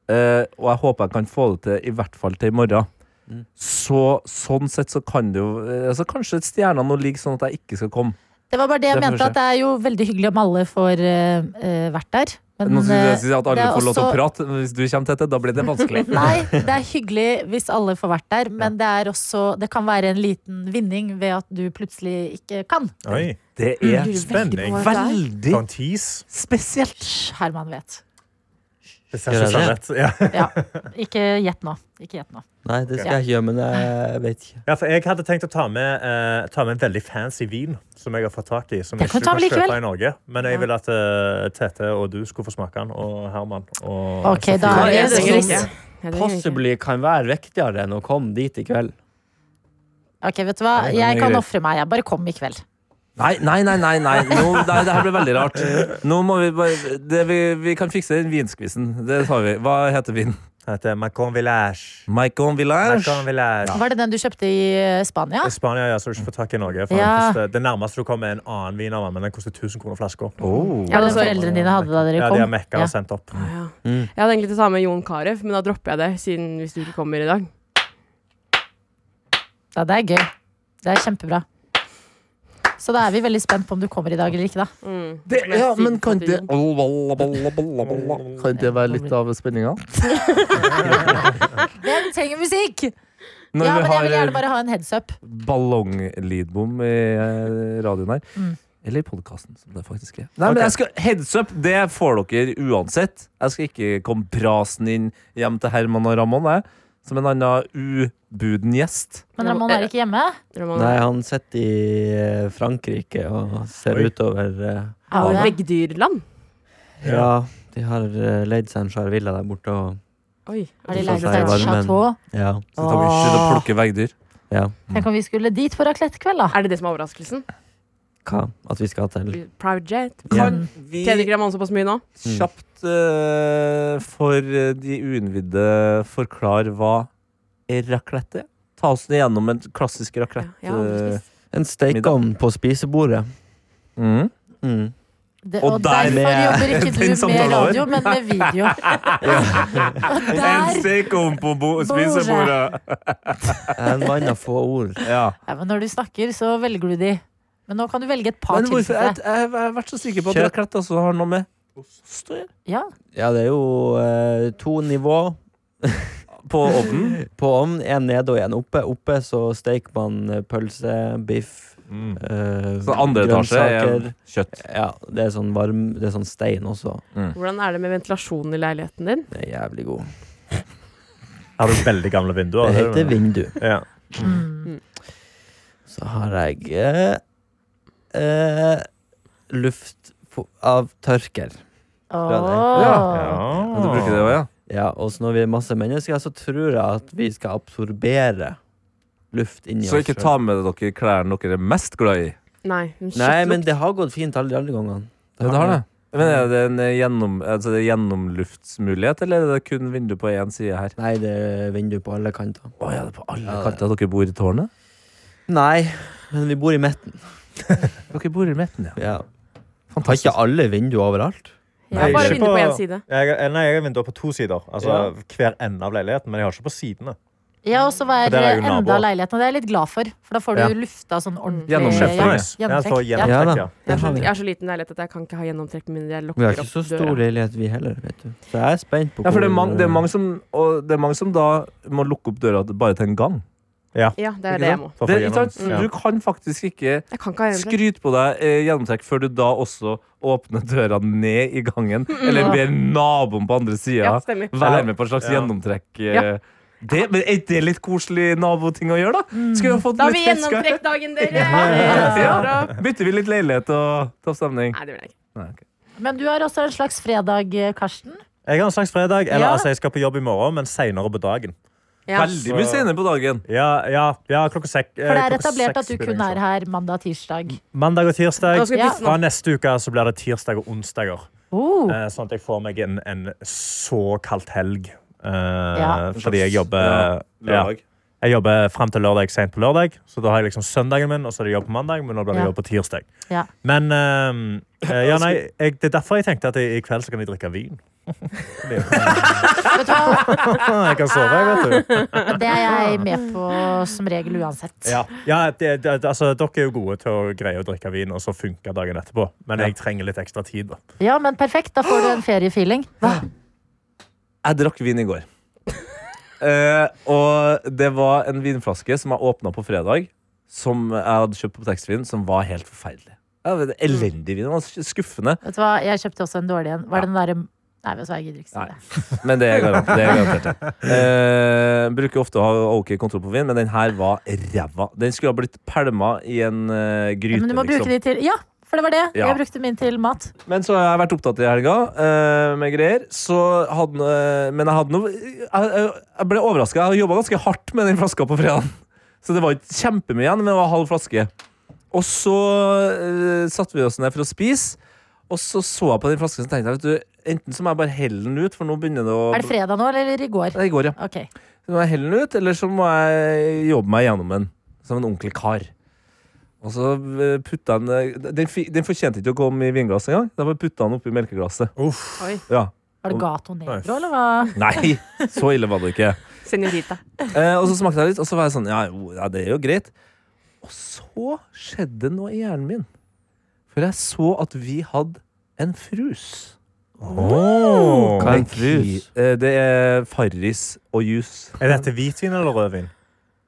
[SPEAKER 4] Eh, og jeg håper jeg kan få det til i hvert fall til i morgen.
[SPEAKER 3] Mm.
[SPEAKER 4] Så sånn sett så kan det jo eh, altså Kanskje stjernene nå ligger sånn at jeg ikke skal komme.
[SPEAKER 2] Det var bare det jeg
[SPEAKER 4] Det får vi
[SPEAKER 2] mente,
[SPEAKER 4] se.
[SPEAKER 2] at det er jo veldig hyggelig om alle får eh, eh, vært der. Men,
[SPEAKER 4] Nå skulle
[SPEAKER 2] eh,
[SPEAKER 4] jeg si at alle
[SPEAKER 2] det er
[SPEAKER 4] får lov til å
[SPEAKER 2] også-
[SPEAKER 4] prate. men Hvis du kommer til dette, da blir det vanskelig.
[SPEAKER 2] Nei, det er hyggelig hvis alle får vært der, men det er også Det kan være en liten vinning ved at du plutselig ikke kan.
[SPEAKER 6] Oi.
[SPEAKER 4] Det er
[SPEAKER 6] Spenning.
[SPEAKER 4] veldig
[SPEAKER 6] Sånn tease.
[SPEAKER 4] spesielt.
[SPEAKER 2] Hysj, Herman vet.
[SPEAKER 6] Det ser
[SPEAKER 3] Gjør
[SPEAKER 6] ikke sånn
[SPEAKER 3] jeg
[SPEAKER 6] ut. Ja.
[SPEAKER 2] Ja. Ikke gjett nå. Ikke gjett nå.
[SPEAKER 3] Nei, det skal jeg ikke gjøre, men jeg vet ikke.
[SPEAKER 6] Ja, for jeg hadde tenkt å ta med, eh, ta med en veldig fancy vin som jeg har fått tak i. Som
[SPEAKER 2] Det
[SPEAKER 6] jeg
[SPEAKER 2] kan
[SPEAKER 6] ikke
[SPEAKER 2] du ta
[SPEAKER 6] kan
[SPEAKER 2] med likevel.
[SPEAKER 6] kjøpe i Norge. Men jeg ville at eh, Tete og du skulle få smake den, og Herman. Og
[SPEAKER 2] Ok, da
[SPEAKER 3] Hva
[SPEAKER 2] er det
[SPEAKER 3] er det
[SPEAKER 2] så
[SPEAKER 3] som-
[SPEAKER 2] trist.
[SPEAKER 5] Ja, det gjør jeg ikke.
[SPEAKER 3] Possibly kan være viktigere enn å komme dit i kveld.
[SPEAKER 2] Ok, vet du hva?
[SPEAKER 6] Nei, den
[SPEAKER 2] Jeg
[SPEAKER 6] er
[SPEAKER 2] kan
[SPEAKER 6] grei.
[SPEAKER 2] ofre meg. Jeg bare kom i kveld.
[SPEAKER 4] Nei, nei, nei. nei, nei. Nå, nei det her blir veldig rart. Nå må vi bare det vi, vi kan fikse den vinskvissen. Det tar vi. Hva heter vinen?
[SPEAKER 6] Tete, Macon Village.
[SPEAKER 4] Maicon
[SPEAKER 6] Macon
[SPEAKER 4] Village.
[SPEAKER 6] Village.
[SPEAKER 2] Var det den du kjøpte i eh, Spania?
[SPEAKER 6] I Spania ja, så har du ikke fått tak i Norge. For
[SPEAKER 2] Ja.
[SPEAKER 6] den koster, det nærmeste du kommer, er en annen vin av den, men den koster 1000 kroner flaska.
[SPEAKER 4] Oh.
[SPEAKER 2] Ja,
[SPEAKER 5] Ja,
[SPEAKER 2] den
[SPEAKER 5] det så-
[SPEAKER 2] foreldrene dine hadde da dere
[SPEAKER 6] Ja, de har
[SPEAKER 2] kom?
[SPEAKER 6] mekka
[SPEAKER 2] Ja.
[SPEAKER 6] og sendt opp.
[SPEAKER 5] Ja.
[SPEAKER 3] Mm.
[SPEAKER 5] Jeg hadde egentlig til å ta med Jon Carew, men da dropper jeg det. Siden hvis du ikke kommer i dag
[SPEAKER 2] Ja, det er gøy. Det er kjempebra. Så da er vi veldig spent på om du kommer i dag eller ikke. da
[SPEAKER 5] Mm.
[SPEAKER 8] Det,
[SPEAKER 5] Som jeg
[SPEAKER 8] ja,
[SPEAKER 5] sier
[SPEAKER 8] men kan
[SPEAKER 5] på
[SPEAKER 8] det
[SPEAKER 5] tiden.
[SPEAKER 8] Kan det være litt av spenninga?
[SPEAKER 2] Hvem trenger musikk?
[SPEAKER 4] Når
[SPEAKER 2] ja, men
[SPEAKER 4] vi
[SPEAKER 2] Jeg vil gjerne
[SPEAKER 4] har
[SPEAKER 2] bare ha en headsup.
[SPEAKER 4] ballonglydbom i eh, radioen her.
[SPEAKER 2] Mm.
[SPEAKER 4] Eller i podkasten, som det faktisk er. Nei, men jeg skal, Heads up, det får dere uansett. Jeg skal ikke komme brasende inn hjem til Herman og Ramón, jeg. Som en annen ubuden gjest.
[SPEAKER 2] Men Ramón er ikke hjemme.
[SPEAKER 5] Ramona.
[SPEAKER 9] Nei, han sitter i eh, Frankrike og ser
[SPEAKER 6] Oi.
[SPEAKER 9] utover eh,
[SPEAKER 2] Er det?
[SPEAKER 5] Veggdyrland.
[SPEAKER 9] Ja, de har eh, leid seg en svær villa der borte og
[SPEAKER 5] Oi.
[SPEAKER 2] Har de
[SPEAKER 9] Så
[SPEAKER 2] leid
[SPEAKER 9] sier
[SPEAKER 2] seg et
[SPEAKER 9] varmen.
[SPEAKER 2] chateau?
[SPEAKER 9] Ja.
[SPEAKER 4] Så tar
[SPEAKER 5] Ah.
[SPEAKER 4] vi ikke til å plukke veggdyr.
[SPEAKER 9] ja.
[SPEAKER 2] Tenk om vi skulle dit for raclette-kveld, da.
[SPEAKER 5] Er det det som er overraskelsen?
[SPEAKER 9] Hva? At vi skal til
[SPEAKER 5] Private jet?
[SPEAKER 9] Ja.
[SPEAKER 4] Kan vi
[SPEAKER 5] Tjener ikke Ramona såpass mye nå?
[SPEAKER 4] kjapt eh, for eh, de uinnvidde forklare hva raclette er? Ta oss gjennom en klassisk
[SPEAKER 5] Ja,
[SPEAKER 4] raclette.
[SPEAKER 5] jeg har aldri spist.
[SPEAKER 9] en stekeovn på spisebordet.
[SPEAKER 4] Mm.
[SPEAKER 9] Mm.
[SPEAKER 2] Det,
[SPEAKER 4] Og
[SPEAKER 2] og
[SPEAKER 4] der-
[SPEAKER 2] derfor jobber ikke
[SPEAKER 4] Den
[SPEAKER 2] du med
[SPEAKER 4] samtalen over.
[SPEAKER 2] radio, men med video. Og der
[SPEAKER 4] stekeovn på
[SPEAKER 2] spisebordet.
[SPEAKER 9] En mann av få ord.
[SPEAKER 4] Ja.
[SPEAKER 2] ja, men Når du snakker, så velger du de. Men nå kan du velge et par
[SPEAKER 4] Men
[SPEAKER 2] til.
[SPEAKER 4] hvorfor,
[SPEAKER 2] synes
[SPEAKER 4] jeg,
[SPEAKER 2] jeg.
[SPEAKER 4] jeg, jeg har vært så sikker på at
[SPEAKER 9] Kjøtt.
[SPEAKER 4] raclette også har noe med ost å gjøre.
[SPEAKER 2] Ja,
[SPEAKER 9] Ja, det er jo eh, to nivå
[SPEAKER 4] På ovnen.
[SPEAKER 9] på ovn. Én nede og én oppe. Oppe så steker man eh, pølse, biff,
[SPEAKER 6] Mm.
[SPEAKER 9] eh,
[SPEAKER 4] Så andre etasje er
[SPEAKER 9] grønnsaker.
[SPEAKER 4] kjøtt.
[SPEAKER 9] Ja, det er sånn varm Det er sånn stein også.
[SPEAKER 5] Hvordan er det med ventilasjonen i leiligheten din?
[SPEAKER 9] Det er jævlig god.
[SPEAKER 6] Har du veldig gamle vinduer?
[SPEAKER 9] Det
[SPEAKER 6] er
[SPEAKER 9] heter
[SPEAKER 6] det du mener?
[SPEAKER 9] vindu.
[SPEAKER 6] Ja.
[SPEAKER 9] Så har jeg eh, eh, luft fo- av tørker.
[SPEAKER 2] Åh.
[SPEAKER 4] Men du bruker det også, ja.
[SPEAKER 9] Ja, og så når vi er masse mennesker, så tror jeg at vi skal absorbere luft inni
[SPEAKER 4] Så
[SPEAKER 9] oss.
[SPEAKER 4] ikke
[SPEAKER 9] selv.
[SPEAKER 4] ta med dere klærne dere er mest glad i.
[SPEAKER 5] Nei.
[SPEAKER 9] Nei,
[SPEAKER 5] kjøttlukt.
[SPEAKER 9] men det har gått fint alle de andre gangene.
[SPEAKER 4] Ja, det har det. Men er det en eh, gjennom, altså det er gjennomluftsmulighet, eller er det kun vindu på én side her?
[SPEAKER 9] Nei, det er vindu på alle kanter.
[SPEAKER 4] Å, ja, det er på alle
[SPEAKER 9] Ja, det-
[SPEAKER 4] kanter. Dere bor i tårnet?
[SPEAKER 9] Nei, men vi bor i midten.
[SPEAKER 4] Dere bor i midten, ja.
[SPEAKER 9] Ja. Har ikke alle vindu overalt?
[SPEAKER 5] Jeg har
[SPEAKER 6] Nei,
[SPEAKER 5] bare
[SPEAKER 6] ikke
[SPEAKER 5] vindu
[SPEAKER 6] på-
[SPEAKER 5] på én side.
[SPEAKER 6] Jeg, eh, nei, jeg har vinduer på to sider. Altså hver ende av leiligheten, men jeg har ikke på sidene.
[SPEAKER 2] Ja, og så var
[SPEAKER 6] For der er jo
[SPEAKER 2] enda
[SPEAKER 6] naboer.
[SPEAKER 2] leiligheten, og det er jeg litt glad for. For da får du
[SPEAKER 9] Ja.
[SPEAKER 2] lufta sånn ordentlig
[SPEAKER 4] Gjennomtrekk,
[SPEAKER 2] ja.
[SPEAKER 4] da.
[SPEAKER 6] Ja, for
[SPEAKER 2] Ja.
[SPEAKER 9] Ja
[SPEAKER 6] gjennomtrekk,
[SPEAKER 9] da.
[SPEAKER 6] ja.
[SPEAKER 5] Jeg er, så,
[SPEAKER 9] vi.
[SPEAKER 5] jeg er så liten leilighet at jeg kan ikke ha gjennomtrekk med mindre
[SPEAKER 9] Vi har
[SPEAKER 5] jeg lukker
[SPEAKER 9] ikke
[SPEAKER 5] opp
[SPEAKER 9] så stor
[SPEAKER 5] døra.
[SPEAKER 9] leilighet vi heller, vet du. Så jeg er spent på
[SPEAKER 4] Ja, for det er, mange, det, er mange som, og det er mange som da må lukke opp døra bare til en gang.
[SPEAKER 5] Ja, det
[SPEAKER 4] Ikke
[SPEAKER 5] er det jeg
[SPEAKER 4] sant?
[SPEAKER 5] må.
[SPEAKER 6] For å få
[SPEAKER 4] Det, er ikke sant?
[SPEAKER 6] gjennom-
[SPEAKER 4] Du kan faktisk ikke
[SPEAKER 5] Jeg kan ikke ha gjennomtrekk.
[SPEAKER 4] skryte på deg eh, gjennomtrekk før du da også åpner døra ned i gangen, eller ber naboen på andre
[SPEAKER 5] Ja,
[SPEAKER 4] sida
[SPEAKER 5] stemmer.
[SPEAKER 4] være med på en slags
[SPEAKER 6] Ja.
[SPEAKER 4] gjennomtrekk. eh.
[SPEAKER 5] Ja.
[SPEAKER 4] Det, men er ikke det litt koselig naboting å gjøre, da? Skulle vi ha fått
[SPEAKER 5] Da har vi
[SPEAKER 4] litt fisk her?
[SPEAKER 5] gjennomtrekkdagen, dere!
[SPEAKER 4] Ja. Bytter vi litt leilighet og topp stemning?
[SPEAKER 5] Nei, det vil jeg ikke.
[SPEAKER 4] Nei, ok.
[SPEAKER 2] Men du har også en slags fredag, eh, Karsten.
[SPEAKER 6] Jeg har en slags fredag. Eller
[SPEAKER 2] Ja.
[SPEAKER 6] altså, jeg skal på jobb i morgen, men seinere på dagen.
[SPEAKER 5] Ja.
[SPEAKER 4] Veldig mye senere på dagen.
[SPEAKER 6] Ja, ja, ja klokka sek,
[SPEAKER 2] For det er etablert at du kun er her mandag-tirsdag.
[SPEAKER 6] Mandag og tirsdag.
[SPEAKER 5] Nå skal vi
[SPEAKER 2] Ja.
[SPEAKER 5] pisse nå.
[SPEAKER 6] Fra neste uke så blir det tirsdag og onsdager.
[SPEAKER 2] Oh.
[SPEAKER 6] Eh, Sånn at jeg får meg en, en såkalt helg. Eh,
[SPEAKER 2] Ja.
[SPEAKER 6] Fordi jeg jobber ja, Jeg jobber frem til lørdag sent på lørdag. Så da har jeg liksom søndagen min, og så er det jobb på mandag, men nå blir det
[SPEAKER 2] Ja.
[SPEAKER 6] jobb på tirsdag.
[SPEAKER 2] Ja.
[SPEAKER 6] Men [LAUGHS] eh, eh, ja, nei, jeg, det er derfor jeg tenkte at jeg, i kveld så kan jeg drikke [LAUGHS] vin. Fordi,
[SPEAKER 2] Vet du hva?
[SPEAKER 6] [LAUGHS] jeg kan sove, jeg, vet du.
[SPEAKER 2] Det er jeg med på som regel uansett.
[SPEAKER 6] Ja, ja det, det, altså, dere er jo gode til å greie å drikke vin, og så funker dagen etterpå. Men jeg trenger litt ekstra tid. da.
[SPEAKER 2] Ja, men perfekt. Da får du en feriefeeling. Hva?
[SPEAKER 4] Jeg drakk vin i går. [LAUGHS] Eh, og det var en vinflaske som jeg åpna på fredag, som jeg hadde kjøpt på taxfree-en, som var helt forferdelig. Ja, det var
[SPEAKER 2] Mm.
[SPEAKER 4] Elendig vin. Den var skuffende.
[SPEAKER 2] Vet du hva, jeg kjøpte også en dårlig en. Var det den derre Nei, vet du hva, jeg gidder ikke si
[SPEAKER 4] Nei.
[SPEAKER 2] det.
[SPEAKER 4] Men det er garant- det er
[SPEAKER 2] [LAUGHS]
[SPEAKER 4] garantert. det. Eh, bruker ofte å ha ok kontroll på vin, men den her var ræva. Den skulle ha blitt pælma i en eh, gryte.
[SPEAKER 2] Men du må bruke
[SPEAKER 4] liksom.
[SPEAKER 2] de til Ja, for det var det.
[SPEAKER 4] Ja.
[SPEAKER 2] Jeg brukte min til mat.
[SPEAKER 4] Men så har jeg vært opptatt i helga eh, med greier. Så hadde, eh, men jeg hadde noe Jeg, jeg- jeg ble overraska. Jeg hadde jobba ganske hardt med den flaska på fredag. Så det var ikke kjempemye igjen, men det var halv flaske. Og så eh, satte vi oss ned for å spise, og så så jeg på den flasken og tenkte jeg, vet du, enten så må jeg bare helle den ut, for nå begynner det å
[SPEAKER 2] Er det fredag nå, eller i går?
[SPEAKER 4] Det er i går, ja.
[SPEAKER 2] Ok.
[SPEAKER 4] Så må jeg helle den ut, eller så må jeg jobbe meg gjennom den. Som en ordentlig kar. Og så eh, putta han eh, den, fi- den fortjente ikke å komme i vinglass engang. Da bare putta han oppi melkeglasset.
[SPEAKER 5] Oi.
[SPEAKER 4] Ja.
[SPEAKER 2] Var det Gato Negro, eller hva?
[SPEAKER 4] Nei, så ille var det ikke.
[SPEAKER 5] Senorita.
[SPEAKER 4] Eh, og så smakte jeg litt, og så var jeg sånn Ja, jo, ja det er jo greit. Og så skjedde noe i hjernen min. For jeg så at vi hadde en frus.
[SPEAKER 6] Åh.
[SPEAKER 3] Hva er en frus?
[SPEAKER 4] Eh, Det er Farris og juice.
[SPEAKER 6] Er dette hvitvin eller rødvin?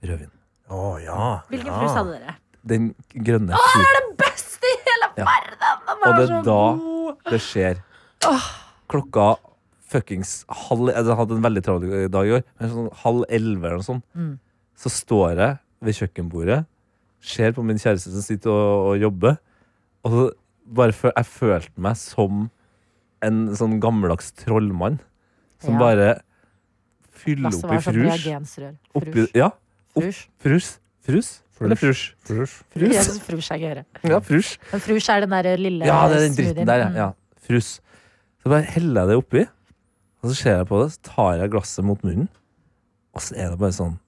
[SPEAKER 4] Rødvin.
[SPEAKER 6] Å ja.
[SPEAKER 4] Ah.
[SPEAKER 2] Hvilken
[SPEAKER 6] ja.
[SPEAKER 2] frus hadde dere?
[SPEAKER 4] Den grønne. Åh,
[SPEAKER 2] Best i hele
[SPEAKER 4] Ja.
[SPEAKER 2] verden! Den
[SPEAKER 4] Og
[SPEAKER 2] er
[SPEAKER 4] det er
[SPEAKER 2] så
[SPEAKER 4] da-
[SPEAKER 2] god!
[SPEAKER 4] det skjer. Klokka fuckings halv Jeg hadde en veldig travel dag i år, men sånn halv elleve eller noe sånt.
[SPEAKER 2] Mm.
[SPEAKER 4] Så står jeg ved kjøkkenbordet, ser på min kjæreste som sitter og, og jobber, og så bare fø- jeg følte meg som en sånn gammeldags trollmann som
[SPEAKER 2] Ja.
[SPEAKER 4] bare fyller
[SPEAKER 2] Lasse
[SPEAKER 4] opp i
[SPEAKER 2] var sånn
[SPEAKER 4] frus.
[SPEAKER 2] reagensrør.
[SPEAKER 4] Oppi,
[SPEAKER 2] Frus.
[SPEAKER 4] ja, opp-
[SPEAKER 2] Frus.
[SPEAKER 4] frus. Frus? Eller frus?
[SPEAKER 2] Frus. Ja, frus er gøyere.
[SPEAKER 4] Ja, frus.
[SPEAKER 2] Men frus er den der lille
[SPEAKER 4] Ja, det er den
[SPEAKER 2] smoothien.
[SPEAKER 4] dritten der, ja.
[SPEAKER 2] Mm.
[SPEAKER 4] ja. Frus. Så bare heller jeg det oppi, og så ser jeg på det, så tar jeg glasset mot munnen, og så er det bare sånn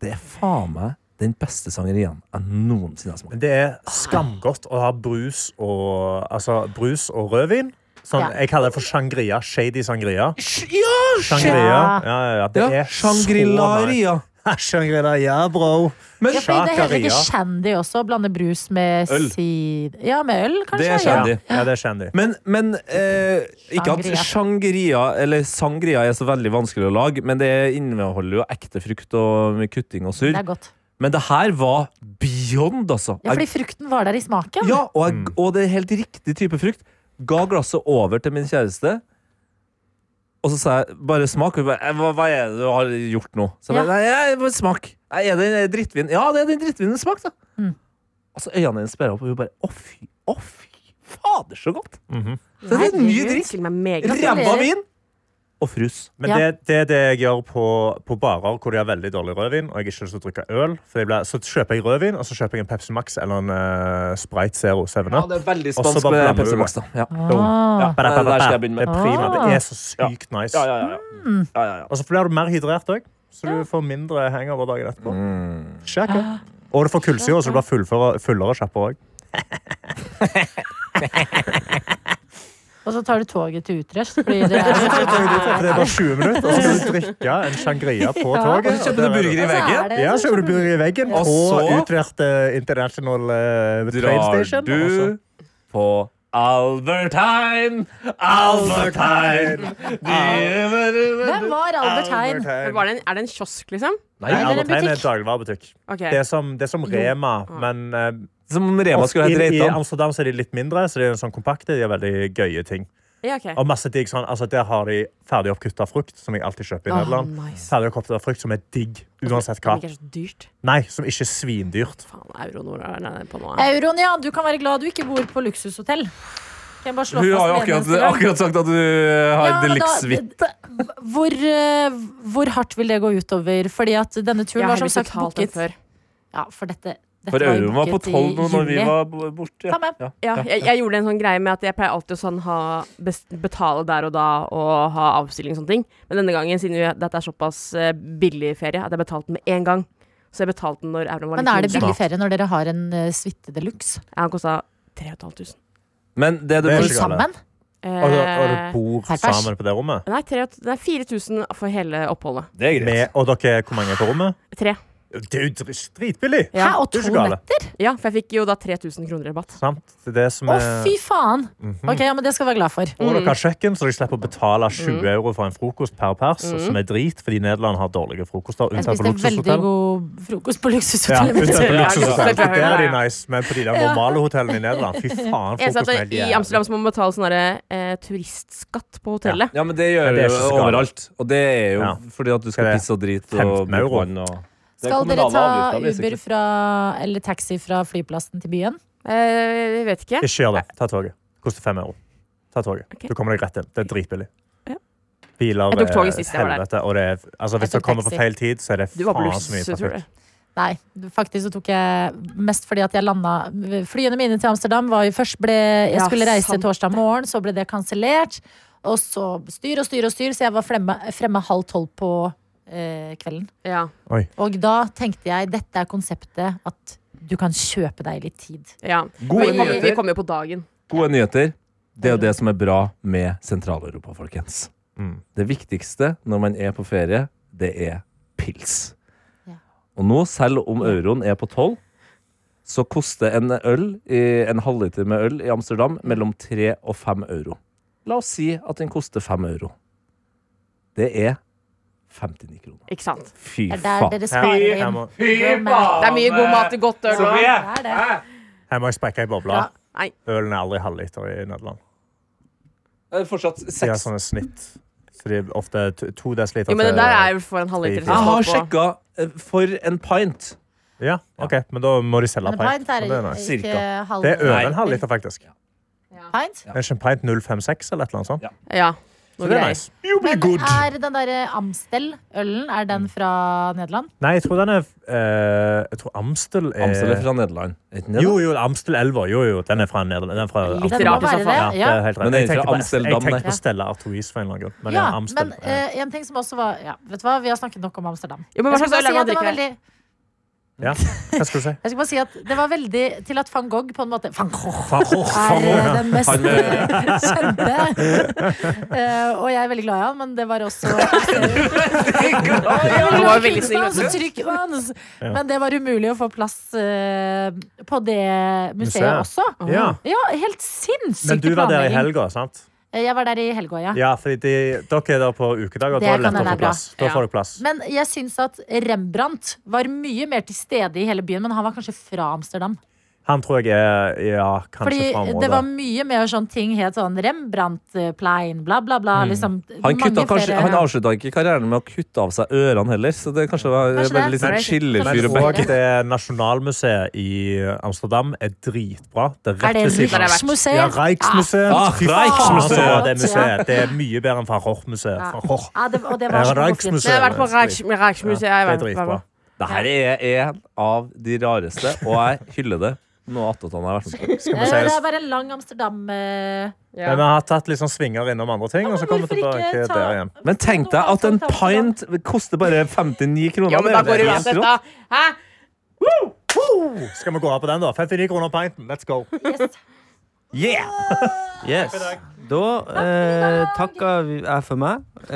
[SPEAKER 4] Det er faen meg den beste sangeriaen jeg noensinne har smakt.
[SPEAKER 6] Men det er skamgodt å ha brus og, altså, brus og rødvin. Sånn,
[SPEAKER 2] Ja.
[SPEAKER 6] Jeg kaller det for shangria. Shady sangria.
[SPEAKER 4] Ja,
[SPEAKER 6] Shangria.
[SPEAKER 2] Ja.
[SPEAKER 6] Ja, ja, ja. Det
[SPEAKER 4] ja
[SPEAKER 6] er så
[SPEAKER 4] Shangri-La-ria. [LAUGHS]
[SPEAKER 6] nice. Shangri-La, ja, bro.
[SPEAKER 2] Ja, fordi det er heller ikke
[SPEAKER 6] Shakaria.
[SPEAKER 2] shandy også, å blande brus med
[SPEAKER 4] Øl.
[SPEAKER 2] sid... Ja, med øl, kanskje.
[SPEAKER 4] Det er
[SPEAKER 2] ja.
[SPEAKER 4] shandy.
[SPEAKER 6] Ja, det er shandy.
[SPEAKER 4] Men, men eh, ikke at
[SPEAKER 2] Sangria.
[SPEAKER 4] sangria eller sangria er så veldig vanskelig å lage, men det inneholder jo ekte frukt og mye kutting og surr.
[SPEAKER 2] Det er godt.
[SPEAKER 4] Men det her var beyond, altså.
[SPEAKER 2] Ja,
[SPEAKER 4] Jeg-
[SPEAKER 2] fordi frukten var der i smaken.
[SPEAKER 4] Ja, og, jeg, og det er helt riktig type frukt. Ga glasset over til min kjæreste. Og så sa jeg bare smak. Og hun bare, «Eh, hva, hva er det du har gjort nå? Så jeg
[SPEAKER 2] Ja.
[SPEAKER 4] bare, nei, nei, bare smak. Nei, Er det en eh, drittvin? Ja, det er den drittvinen. Smak, da.
[SPEAKER 2] Mm.
[SPEAKER 4] Og så øynene hennes sperra opp, og hun bare å fy, å fy fader, så godt.
[SPEAKER 6] Mhm.
[SPEAKER 4] Så det er en ny drikk.
[SPEAKER 5] Stiller meg meget
[SPEAKER 2] Gratulerer.
[SPEAKER 4] Ræva vin og frus.
[SPEAKER 6] Men
[SPEAKER 2] Ja.
[SPEAKER 6] det, det er det jeg gjør på, på barer hvor de har veldig dårlig rødvin, og jeg ikke har lyst til å drikke øl. For jeg blir, så kjøper jeg rødvin, og så kjøper jeg en Pepsi Max eller en eh, Sprite Zero 7 Up.
[SPEAKER 4] det er veldig
[SPEAKER 6] spansk
[SPEAKER 4] spansk med
[SPEAKER 6] med Pepsi
[SPEAKER 4] Pepsi
[SPEAKER 6] Max,
[SPEAKER 4] da. Ja.
[SPEAKER 2] Ah.
[SPEAKER 6] Ba, ba, ba,
[SPEAKER 4] Der skal jeg
[SPEAKER 6] ba.
[SPEAKER 4] begynne med.
[SPEAKER 6] Det er prima.
[SPEAKER 2] Ah.
[SPEAKER 6] Det er så sykt nice.
[SPEAKER 4] Ja, ja, ja, ja.
[SPEAKER 2] Mm.
[SPEAKER 4] ja, ja, ja.
[SPEAKER 6] Og så blir du mer hydrert òg, så du får mindre hangover dagen etterpå.
[SPEAKER 4] Mm.
[SPEAKER 6] Sjekk, ja. Og du får kullsyre, så du blir fullføre- fullere og kjappere òg.
[SPEAKER 2] Og så tar du toget til Utrecht. Fordi
[SPEAKER 4] [LAUGHS]
[SPEAKER 2] det er,
[SPEAKER 6] Det er bare 20 minutter, og så skal du drikke en sangria på
[SPEAKER 2] Ja.
[SPEAKER 6] toget.
[SPEAKER 4] Og så kjøper du
[SPEAKER 6] og der er
[SPEAKER 4] burger i
[SPEAKER 2] Og så
[SPEAKER 4] veggen.
[SPEAKER 2] er det- liksom-
[SPEAKER 6] Ja, så kjøper du burger i veggen
[SPEAKER 4] Og
[SPEAKER 6] på
[SPEAKER 4] så-
[SPEAKER 6] utvert eh, International eh, Train
[SPEAKER 4] Drar
[SPEAKER 6] Station. og så-
[SPEAKER 4] du på Albertheim, Albertheim
[SPEAKER 2] Hvem var Albert Hein?
[SPEAKER 5] Men var det en, er det en kiosk, liksom?
[SPEAKER 4] Nei,
[SPEAKER 6] Nei,
[SPEAKER 2] det er en
[SPEAKER 6] Albert Heijn er
[SPEAKER 2] butikk.
[SPEAKER 6] dagligvarebutikk.
[SPEAKER 5] Ok.
[SPEAKER 6] Det er som, det er som Rema, men eh,
[SPEAKER 4] Som Rema
[SPEAKER 6] ofte
[SPEAKER 4] skulle hett
[SPEAKER 6] i, i
[SPEAKER 4] Reitan.
[SPEAKER 6] Amsterdam så er de litt mindre, så de er sånn kompakte. De har veldig gøye ting.
[SPEAKER 5] Ja, ok.
[SPEAKER 6] Og masse digg sånn, altså Der har de ferdig oppkutta frukt, som jeg alltid kjøper i
[SPEAKER 5] Ah,
[SPEAKER 6] Nederland.
[SPEAKER 5] nice.
[SPEAKER 6] Ferdig oppkutta frukt som er digg, uansett hva.
[SPEAKER 5] Men ikke er så dyrt.
[SPEAKER 6] Nei, som ikke er svindyrt.
[SPEAKER 5] Faen, euro nord er nede på nå.
[SPEAKER 2] Euroen, ja. Du kan være glad du ikke bor på luksushotell. Kan jeg bare slå
[SPEAKER 4] Hun har jo
[SPEAKER 2] fast med en
[SPEAKER 4] akkurat,
[SPEAKER 2] eneste gang?
[SPEAKER 4] akkurat sagt at du har
[SPEAKER 2] Ja,
[SPEAKER 4] ja,
[SPEAKER 2] men
[SPEAKER 4] deluxe-hvitt.
[SPEAKER 2] da- d- Hvor, eh, hvor hardt vil det gå utover? Fordi at denne turen
[SPEAKER 5] Jeg
[SPEAKER 2] var
[SPEAKER 5] har
[SPEAKER 2] som
[SPEAKER 5] heldigvis
[SPEAKER 2] sagt
[SPEAKER 5] betalt den
[SPEAKER 2] booket.
[SPEAKER 5] før.
[SPEAKER 2] Ja, for dette, dette
[SPEAKER 4] For
[SPEAKER 2] var jo
[SPEAKER 4] euroen var på
[SPEAKER 2] booket i
[SPEAKER 4] 12 nå når vi
[SPEAKER 2] juli.
[SPEAKER 4] var b- borte.
[SPEAKER 2] Ta med.
[SPEAKER 4] Ja.
[SPEAKER 5] Ja, jeg, jeg gjorde en sånn greie med at jeg pleier alltid å sånn ha, best, betale der og da og ha avstilling og sånne ting. Men denne gangen, siden vi- dette er såpass eh, billig ferie, at jeg betalte den med én gang. Så jeg betalte den når euroen var
[SPEAKER 2] Men er det
[SPEAKER 5] mindre.
[SPEAKER 2] billig ferie når dere har en uh, suite de luxe?
[SPEAKER 5] Ja, Den kosta 3500.
[SPEAKER 4] Men det du
[SPEAKER 6] Det er
[SPEAKER 4] bør
[SPEAKER 6] ikke galt.
[SPEAKER 2] Sammen?
[SPEAKER 5] Eh,
[SPEAKER 6] Og du, og du bor
[SPEAKER 2] Per pers.
[SPEAKER 6] sammen på det rommet?
[SPEAKER 5] Nei, 3000 nei, 4000 for hele oppholdet.
[SPEAKER 4] Det er
[SPEAKER 6] Med,
[SPEAKER 4] greit.
[SPEAKER 6] og dere, hvor mange er på rommet?
[SPEAKER 5] Tre.
[SPEAKER 6] Det er jo dr- dritbillig!
[SPEAKER 5] Ja,
[SPEAKER 2] Hæ, og
[SPEAKER 6] det
[SPEAKER 2] to
[SPEAKER 6] er ikke gale.
[SPEAKER 2] netter?
[SPEAKER 5] Ja, for jeg fikk jo da 3000 kroner i rabatt.
[SPEAKER 6] Sant? Det er det som
[SPEAKER 2] Å,
[SPEAKER 6] er Mhm.
[SPEAKER 2] fy faen!
[SPEAKER 4] Mm.
[SPEAKER 2] Ok, ja, men Det skal jeg være glad for.
[SPEAKER 6] Og dere har kjøkken, så dere slipper å betale 20 euro for en frokost per pers, som er drit, fordi Nederland har dårlige frokoster.
[SPEAKER 2] Jeg
[SPEAKER 6] Unntatt på
[SPEAKER 2] spiste veldig
[SPEAKER 6] luksushotell.
[SPEAKER 2] god frokost på
[SPEAKER 6] Ja,
[SPEAKER 2] luksushotellet. mitt.
[SPEAKER 6] unntatt på
[SPEAKER 5] Ja,
[SPEAKER 6] luksushotell.
[SPEAKER 5] luksushotell,
[SPEAKER 6] Der er de
[SPEAKER 5] ja.
[SPEAKER 6] nice, men på de der normale hotellene i Nederland, fy faen,
[SPEAKER 5] Eneste
[SPEAKER 6] frokosten
[SPEAKER 5] er
[SPEAKER 6] er
[SPEAKER 5] at i Amsterdam så må man betale sånn derre, eh, turistskatt på hotellet.
[SPEAKER 4] Ja, men det gjør
[SPEAKER 6] Men
[SPEAKER 4] du
[SPEAKER 6] det er ikke så galt.
[SPEAKER 4] overalt. Og det er jo
[SPEAKER 6] Ja.
[SPEAKER 4] fordi at du skal
[SPEAKER 6] Hva er det?
[SPEAKER 4] pisse og drite
[SPEAKER 6] 15
[SPEAKER 4] og bruke
[SPEAKER 6] euro?
[SPEAKER 4] vann og Det er
[SPEAKER 2] Skal dere
[SPEAKER 4] kommunale
[SPEAKER 2] ta
[SPEAKER 4] avgifter,
[SPEAKER 2] Uber
[SPEAKER 4] basically.
[SPEAKER 2] fra, eller taxi fra flyplassen til byen?
[SPEAKER 5] Eh, jeg vet ikke.
[SPEAKER 6] Ikke gjør det. Ta toget. Koster fem euro. Ta toget.
[SPEAKER 5] Ok.
[SPEAKER 6] Du kommer deg rett inn. Det er dritbillig.
[SPEAKER 5] Ja.
[SPEAKER 6] Biler
[SPEAKER 5] Jeg tok toget
[SPEAKER 6] er
[SPEAKER 5] sist jeg var der.
[SPEAKER 6] helvete, og det er, altså,
[SPEAKER 2] Jeg
[SPEAKER 6] hvis du
[SPEAKER 2] tok
[SPEAKER 6] kommer på
[SPEAKER 2] taxi.
[SPEAKER 6] feil tid, så er det
[SPEAKER 5] Du var på
[SPEAKER 6] faen så mye
[SPEAKER 5] luksustur,
[SPEAKER 6] trafikk.
[SPEAKER 5] du.
[SPEAKER 2] Nei, faktisk så tok jeg mest fordi at jeg landa Flyene mine til Amsterdam var jo først ble Jeg
[SPEAKER 5] Ja,
[SPEAKER 2] skulle reise
[SPEAKER 5] sant
[SPEAKER 2] torsdag morgen, så ble det kansellert. Og så styr og styr og styr, så jeg var fremme, fremme halv tolv på eh, kvelden.
[SPEAKER 5] Ja.
[SPEAKER 2] Og da tenkte jeg dette er konseptet at du kan kjøpe deg litt tid.
[SPEAKER 5] ja.
[SPEAKER 4] Gode
[SPEAKER 5] vi, kom, vi
[SPEAKER 4] nyheter.
[SPEAKER 5] kom jo på dagen.
[SPEAKER 4] Gode nyheter. Det er jo det som er bra med Sentral-Europa, folkens.
[SPEAKER 6] Mm.
[SPEAKER 4] Det viktigste når man er på ferie, det er pils.
[SPEAKER 2] Ja.
[SPEAKER 4] Og nå, selv om euroen er på 12, så koster en øl, i- en halvliter med øl i Amsterdam mellom 3 og 5 euro. La oss si at den koster 5 euro. Det er 59 kroner.
[SPEAKER 5] Ikke sant?
[SPEAKER 4] Fy
[SPEAKER 2] Det er der
[SPEAKER 4] faen.
[SPEAKER 2] dere sparer inn.
[SPEAKER 6] må,
[SPEAKER 7] Fy
[SPEAKER 2] God mat.
[SPEAKER 7] faen!
[SPEAKER 5] Det er mye god mat og godt øl.
[SPEAKER 7] Sofie!
[SPEAKER 5] også.
[SPEAKER 2] Det er det.
[SPEAKER 7] Hæ?
[SPEAKER 6] her må jeg sprekke ei boble.
[SPEAKER 2] Ja.
[SPEAKER 5] Nei.
[SPEAKER 6] Ølen er aldri halvliter i Nederland.
[SPEAKER 4] Det er sånn- fortsatt
[SPEAKER 6] De har
[SPEAKER 4] seks.
[SPEAKER 6] sånne snitt. Så de er ofte to- to desiliter
[SPEAKER 5] Jo, men det der er jo for en halvliter.
[SPEAKER 6] Jeg
[SPEAKER 4] Jeg har
[SPEAKER 5] smak på.
[SPEAKER 4] sjekka eh, for en pint.
[SPEAKER 6] Ja, ok, men da må de selge
[SPEAKER 2] Men
[SPEAKER 6] pint.
[SPEAKER 2] pint er
[SPEAKER 6] Men Det er, nice.
[SPEAKER 2] ikke
[SPEAKER 4] Cirka.
[SPEAKER 2] halv
[SPEAKER 6] det er
[SPEAKER 4] Nei.
[SPEAKER 6] over en halvliter, faktisk.
[SPEAKER 2] pint.
[SPEAKER 6] Er ikke en pint 056 eller et eller annet sånt?
[SPEAKER 4] Ja.
[SPEAKER 5] Ja,
[SPEAKER 6] Så
[SPEAKER 5] noe
[SPEAKER 6] det er
[SPEAKER 5] greier.
[SPEAKER 6] nice. You'll be
[SPEAKER 2] Men
[SPEAKER 6] good.
[SPEAKER 2] er den derre Amstel-ølen, er den fra Nederland?
[SPEAKER 6] Nei, jeg tror den er eh, Jeg tror Amstel er
[SPEAKER 4] Amstel er fra Nederland. Er ikke den det?
[SPEAKER 6] Jo, jo, Amstel elver. Jo, jo, den er fra Nederland. Den er fra
[SPEAKER 5] Litt
[SPEAKER 6] Amsterdam.
[SPEAKER 5] rart i så fall.
[SPEAKER 6] Ja, det
[SPEAKER 2] Ja.
[SPEAKER 6] er helt rett.
[SPEAKER 4] Men det er
[SPEAKER 6] Jeg
[SPEAKER 4] ikke
[SPEAKER 6] tenkte
[SPEAKER 4] fra
[SPEAKER 6] på-
[SPEAKER 4] Amsterdam,
[SPEAKER 6] Jeg
[SPEAKER 4] nei.
[SPEAKER 6] tenkte på Stella Artois for en eller annen grunn. Men ja,
[SPEAKER 2] Ja,
[SPEAKER 6] Amstel.
[SPEAKER 2] men eh, en ting som også var ja, Vet du hva, vi har snakket nok om Amsterdam.
[SPEAKER 5] Jo,
[SPEAKER 2] Jeg
[SPEAKER 5] men hva
[SPEAKER 2] skal bare
[SPEAKER 5] slags øl er
[SPEAKER 2] si
[SPEAKER 5] det
[SPEAKER 2] at
[SPEAKER 5] man
[SPEAKER 2] det var
[SPEAKER 5] drikker?
[SPEAKER 2] veldig
[SPEAKER 6] ja. Hva skulle du si?
[SPEAKER 2] Jeg skal bare si at det var veldig til at van Gogh på en måte Van Gogh er
[SPEAKER 6] Faen,
[SPEAKER 2] eh, den mest
[SPEAKER 4] Han med-
[SPEAKER 2] eh, kjente. [LAUGHS] Eh, og jeg er veldig glad i han, men det var
[SPEAKER 6] [LAUGHS]
[SPEAKER 2] også
[SPEAKER 5] Han var jo veldig snill,
[SPEAKER 2] Kunstner, så trykk på han. Men det var umulig å få plass eh, på det museet
[SPEAKER 6] Museet.
[SPEAKER 2] også.
[SPEAKER 6] Ja.
[SPEAKER 2] Ja, helt
[SPEAKER 6] Men
[SPEAKER 2] sinnssykt
[SPEAKER 6] du var der i
[SPEAKER 2] planlegging.
[SPEAKER 6] helga, sant?
[SPEAKER 2] Eh, Jeg var der i helga, ja.
[SPEAKER 6] Ja, fordi de, dere er der på ukedag, og
[SPEAKER 2] Det
[SPEAKER 6] da er det
[SPEAKER 2] kan
[SPEAKER 6] lett å
[SPEAKER 2] hende
[SPEAKER 6] få
[SPEAKER 2] er bra.
[SPEAKER 6] plass. Da
[SPEAKER 5] Ja.
[SPEAKER 6] får du plass.
[SPEAKER 2] Men jeg syns at Rembrandt var mye mer til stede i hele byen, men han var kanskje fra Amsterdam.
[SPEAKER 6] Han tror jeg er ja, kanskje fra
[SPEAKER 2] Fordi det
[SPEAKER 6] området.
[SPEAKER 2] var mye mer sånn ting helt sånn Rembrandt-plein, bla, bla, bla. Liksom,
[SPEAKER 4] Han, kutta
[SPEAKER 2] mange
[SPEAKER 4] kanskje,
[SPEAKER 2] flere-
[SPEAKER 4] han avslutta ikke karrieren med å kutte av seg ørene heller, så det kanskje var
[SPEAKER 2] Kanskje
[SPEAKER 4] bare
[SPEAKER 2] det.
[SPEAKER 4] litt sånn
[SPEAKER 2] Men-
[SPEAKER 4] chillefyr
[SPEAKER 6] Men
[SPEAKER 4] og
[SPEAKER 6] òg
[SPEAKER 4] bekke.
[SPEAKER 6] det nasjonalmuseet i Amsterdam er dritbra. Det er
[SPEAKER 2] Er
[SPEAKER 6] rett
[SPEAKER 2] det
[SPEAKER 6] ved siden av.
[SPEAKER 2] Riksmuseet?
[SPEAKER 6] Ja, Rijksmuseet.
[SPEAKER 4] Ah,
[SPEAKER 6] Fy faen,
[SPEAKER 4] Rijksmuseet.
[SPEAKER 6] det museet. Det er mye bedre enn Van Gogh-museet.
[SPEAKER 2] Ja.
[SPEAKER 6] Van Gogh.
[SPEAKER 2] Ja, det, og det
[SPEAKER 6] Ja,
[SPEAKER 2] var så
[SPEAKER 6] Rijksmuseet.
[SPEAKER 5] Jeg har vært på Reich- Reichsmuseet. jeg
[SPEAKER 6] Det er
[SPEAKER 5] vet hva det
[SPEAKER 6] dritbra.
[SPEAKER 5] var.
[SPEAKER 4] Det her er en av de rareste, og jeg hyller det. Nå attåt han har
[SPEAKER 2] [LAUGHS]
[SPEAKER 4] vært med på.
[SPEAKER 6] vi
[SPEAKER 2] Det
[SPEAKER 6] se
[SPEAKER 2] Eh, det
[SPEAKER 6] oss?
[SPEAKER 2] er bare en lang Amsterdam eh,
[SPEAKER 5] Ja.
[SPEAKER 6] Men vi har tatt litt sånn svinger innom andre ting, og så kommer vi
[SPEAKER 2] hvorfor
[SPEAKER 6] tilbake
[SPEAKER 2] ikke ta-
[SPEAKER 6] der igjen.
[SPEAKER 4] Men tenk deg at en pint koster bare 59 kroner.
[SPEAKER 5] Ja, men da går det uansett, da. Hæ?
[SPEAKER 2] Oh.
[SPEAKER 6] Skal vi gå av på den, da? 59 kroner pinten. Let's go.
[SPEAKER 4] Yeah!
[SPEAKER 9] Yes. Da eh, takker vi- jeg for meg. [LAUGHS]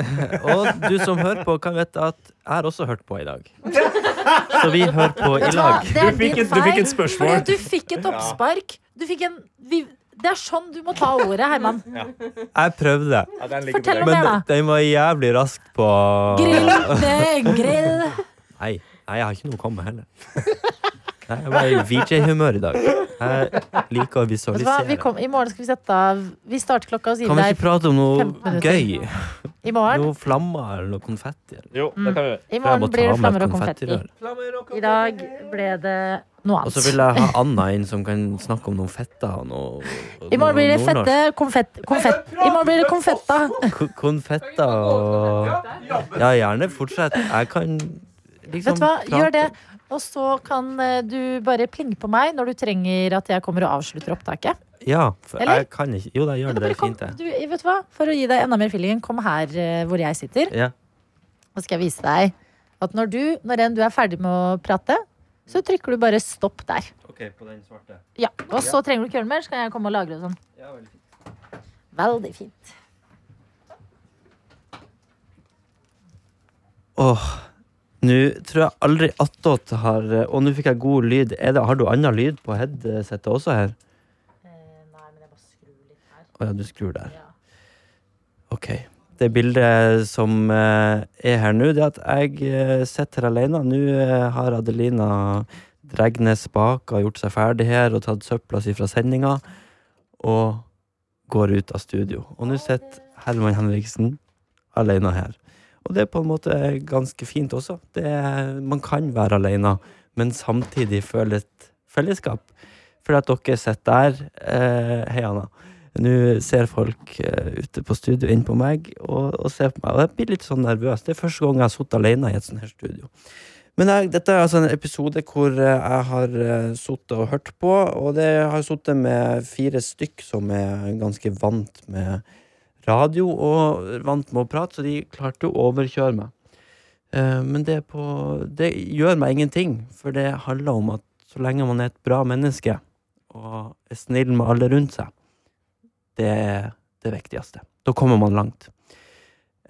[SPEAKER 9] Og du som hører på, kan vite at jeg har også hørt på i dag. Så vi hører på i
[SPEAKER 2] Vet du hva?
[SPEAKER 9] lag.
[SPEAKER 2] Det er din feil.
[SPEAKER 6] spørsmål.
[SPEAKER 2] Fordi at du fikk et oppspark. Du fikk en vi, Det er sånn du må ta ordet, Herman.
[SPEAKER 9] Jeg prøvde,
[SPEAKER 6] Ja, den ligger på
[SPEAKER 2] Fortell
[SPEAKER 6] deg.
[SPEAKER 2] om det,
[SPEAKER 9] men
[SPEAKER 2] da.
[SPEAKER 9] den var jævlig raskt på
[SPEAKER 2] Grill, det, grill.
[SPEAKER 9] Nei, nei, jeg har ikke noe å komme med heller. Nei, Jeg var i VJ-humør i dag. Jeg
[SPEAKER 2] Vet
[SPEAKER 9] liker å
[SPEAKER 2] du hva? Vi
[SPEAKER 9] visualisere.
[SPEAKER 2] kom, I morgen skal vi sette av Vi starter klokka og sier
[SPEAKER 9] Kan vi
[SPEAKER 2] der.
[SPEAKER 9] ikke prate om
[SPEAKER 2] 15
[SPEAKER 9] noe
[SPEAKER 2] minutter.
[SPEAKER 9] gøy?
[SPEAKER 2] I morgen,
[SPEAKER 9] Noe flammer eller noe konfetti? Eller?
[SPEAKER 4] Jo, det kan vi gjøre.
[SPEAKER 2] I
[SPEAKER 9] Jeg må
[SPEAKER 2] morgen
[SPEAKER 9] ta
[SPEAKER 2] blir det
[SPEAKER 9] med
[SPEAKER 2] flammer
[SPEAKER 9] et
[SPEAKER 2] og konfetti.
[SPEAKER 9] konfettirør.
[SPEAKER 2] I dag ble det noe
[SPEAKER 9] Og
[SPEAKER 2] annet.
[SPEAKER 9] så vil jeg ha Anna inn som kan snakke om noen fetta og noe,
[SPEAKER 2] [LAUGHS] I morgen blir det
[SPEAKER 9] noe nordnorsk.
[SPEAKER 2] fette konfett... konfett. I morgen blir det konfetta.
[SPEAKER 9] Ko- Konfetta og Ja, gjerne fortsett. Jeg kan
[SPEAKER 2] Vet
[SPEAKER 9] liksom
[SPEAKER 2] du hva, gjør det.
[SPEAKER 9] prate.
[SPEAKER 2] Og så kan eh, du bare plinge på meg når du trenger at jeg kommer og avslutter opptaket.
[SPEAKER 9] Ja, for
[SPEAKER 2] Eller?
[SPEAKER 9] jeg kan ikke Jo da, gjør
[SPEAKER 2] Ja,
[SPEAKER 9] det.
[SPEAKER 2] bare
[SPEAKER 9] Det er
[SPEAKER 2] kom,
[SPEAKER 9] fint, det.
[SPEAKER 2] du, vet du hva? For å gi deg enda mer feelingen, kom her eh, hvor jeg sitter.
[SPEAKER 9] Ja.
[SPEAKER 2] Og skal jeg vise deg at når, du, når enn du er ferdig med å prate, så trykker du bare stopp der. Ja, Og så trenger du ikke gjøre noe mer, så kan jeg komme og lagre det sånn. Veldig fint.
[SPEAKER 9] Åh, nå tror jeg aldri attåt har Og nå fikk jeg god lyd. Er det, har du annen lyd på headsetet også her?
[SPEAKER 2] Eh, Nei, men jeg bare skrur litt her.
[SPEAKER 9] Å ja, du skrur der.
[SPEAKER 2] Ja.
[SPEAKER 9] Ok. Det bildet som eh, er her nå, det er at jeg eh, sitter her alene. Nå eh, har Adelina dratt ned spaka, gjort seg ferdig her og tatt søpla si fra sendinga. Og går ut av studio. Og nå sitter Herman Henriksen alene her. Og det er på en måte ganske fint også. Det er, man kan være alene, men samtidig føle et fellesskap. For at dere sitter der eh, Hei, Anna. Nå ser folk eh, ute på studio inn på meg og, og ser på meg, og jeg blir litt sånn nervøs. Det er første gang jeg har sittet alene i et sånt her studio. Men jeg, dette er altså en episode hvor eh, jeg har eh, sittet og hørt på, og det jeg har sittet med fire stykk som er ganske vant med radio og vant med å prate, så de klarte å overkjøre meg. Eh, Men det, er på, det gjør meg ingenting, for det handler om at så lenge man er et bra menneske og er snill med alle rundt seg, det er det viktigste. Da kommer man langt.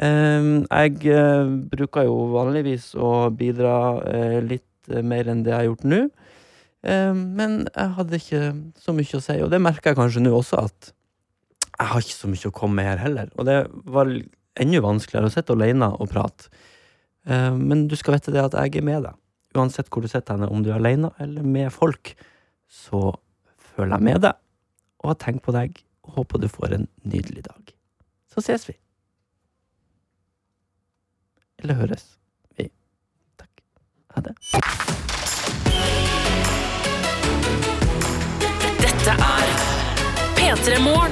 [SPEAKER 9] Ehm, Jeg eh, eh, bruker jo vanligvis å bidra eh, litt mer enn det jeg har gjort nå. Eh, Men jeg hadde ikke så mye å si, og det merker jeg kanskje nå også, at jeg har ikke så mye å komme med her heller. Og det var l- enda vanskeligere å sitte alene og prate. Eh, Men du skal vite det at jeg er med deg. Uansett hvor du sitter henne, om du er alene eller med folk, så føler jeg med deg, og jeg tenker på deg, og håper du får en nydelig dag. Så ses vi. Eller høres. Vi. Takk. Ha det.
[SPEAKER 10] Dette er P3 Morgen.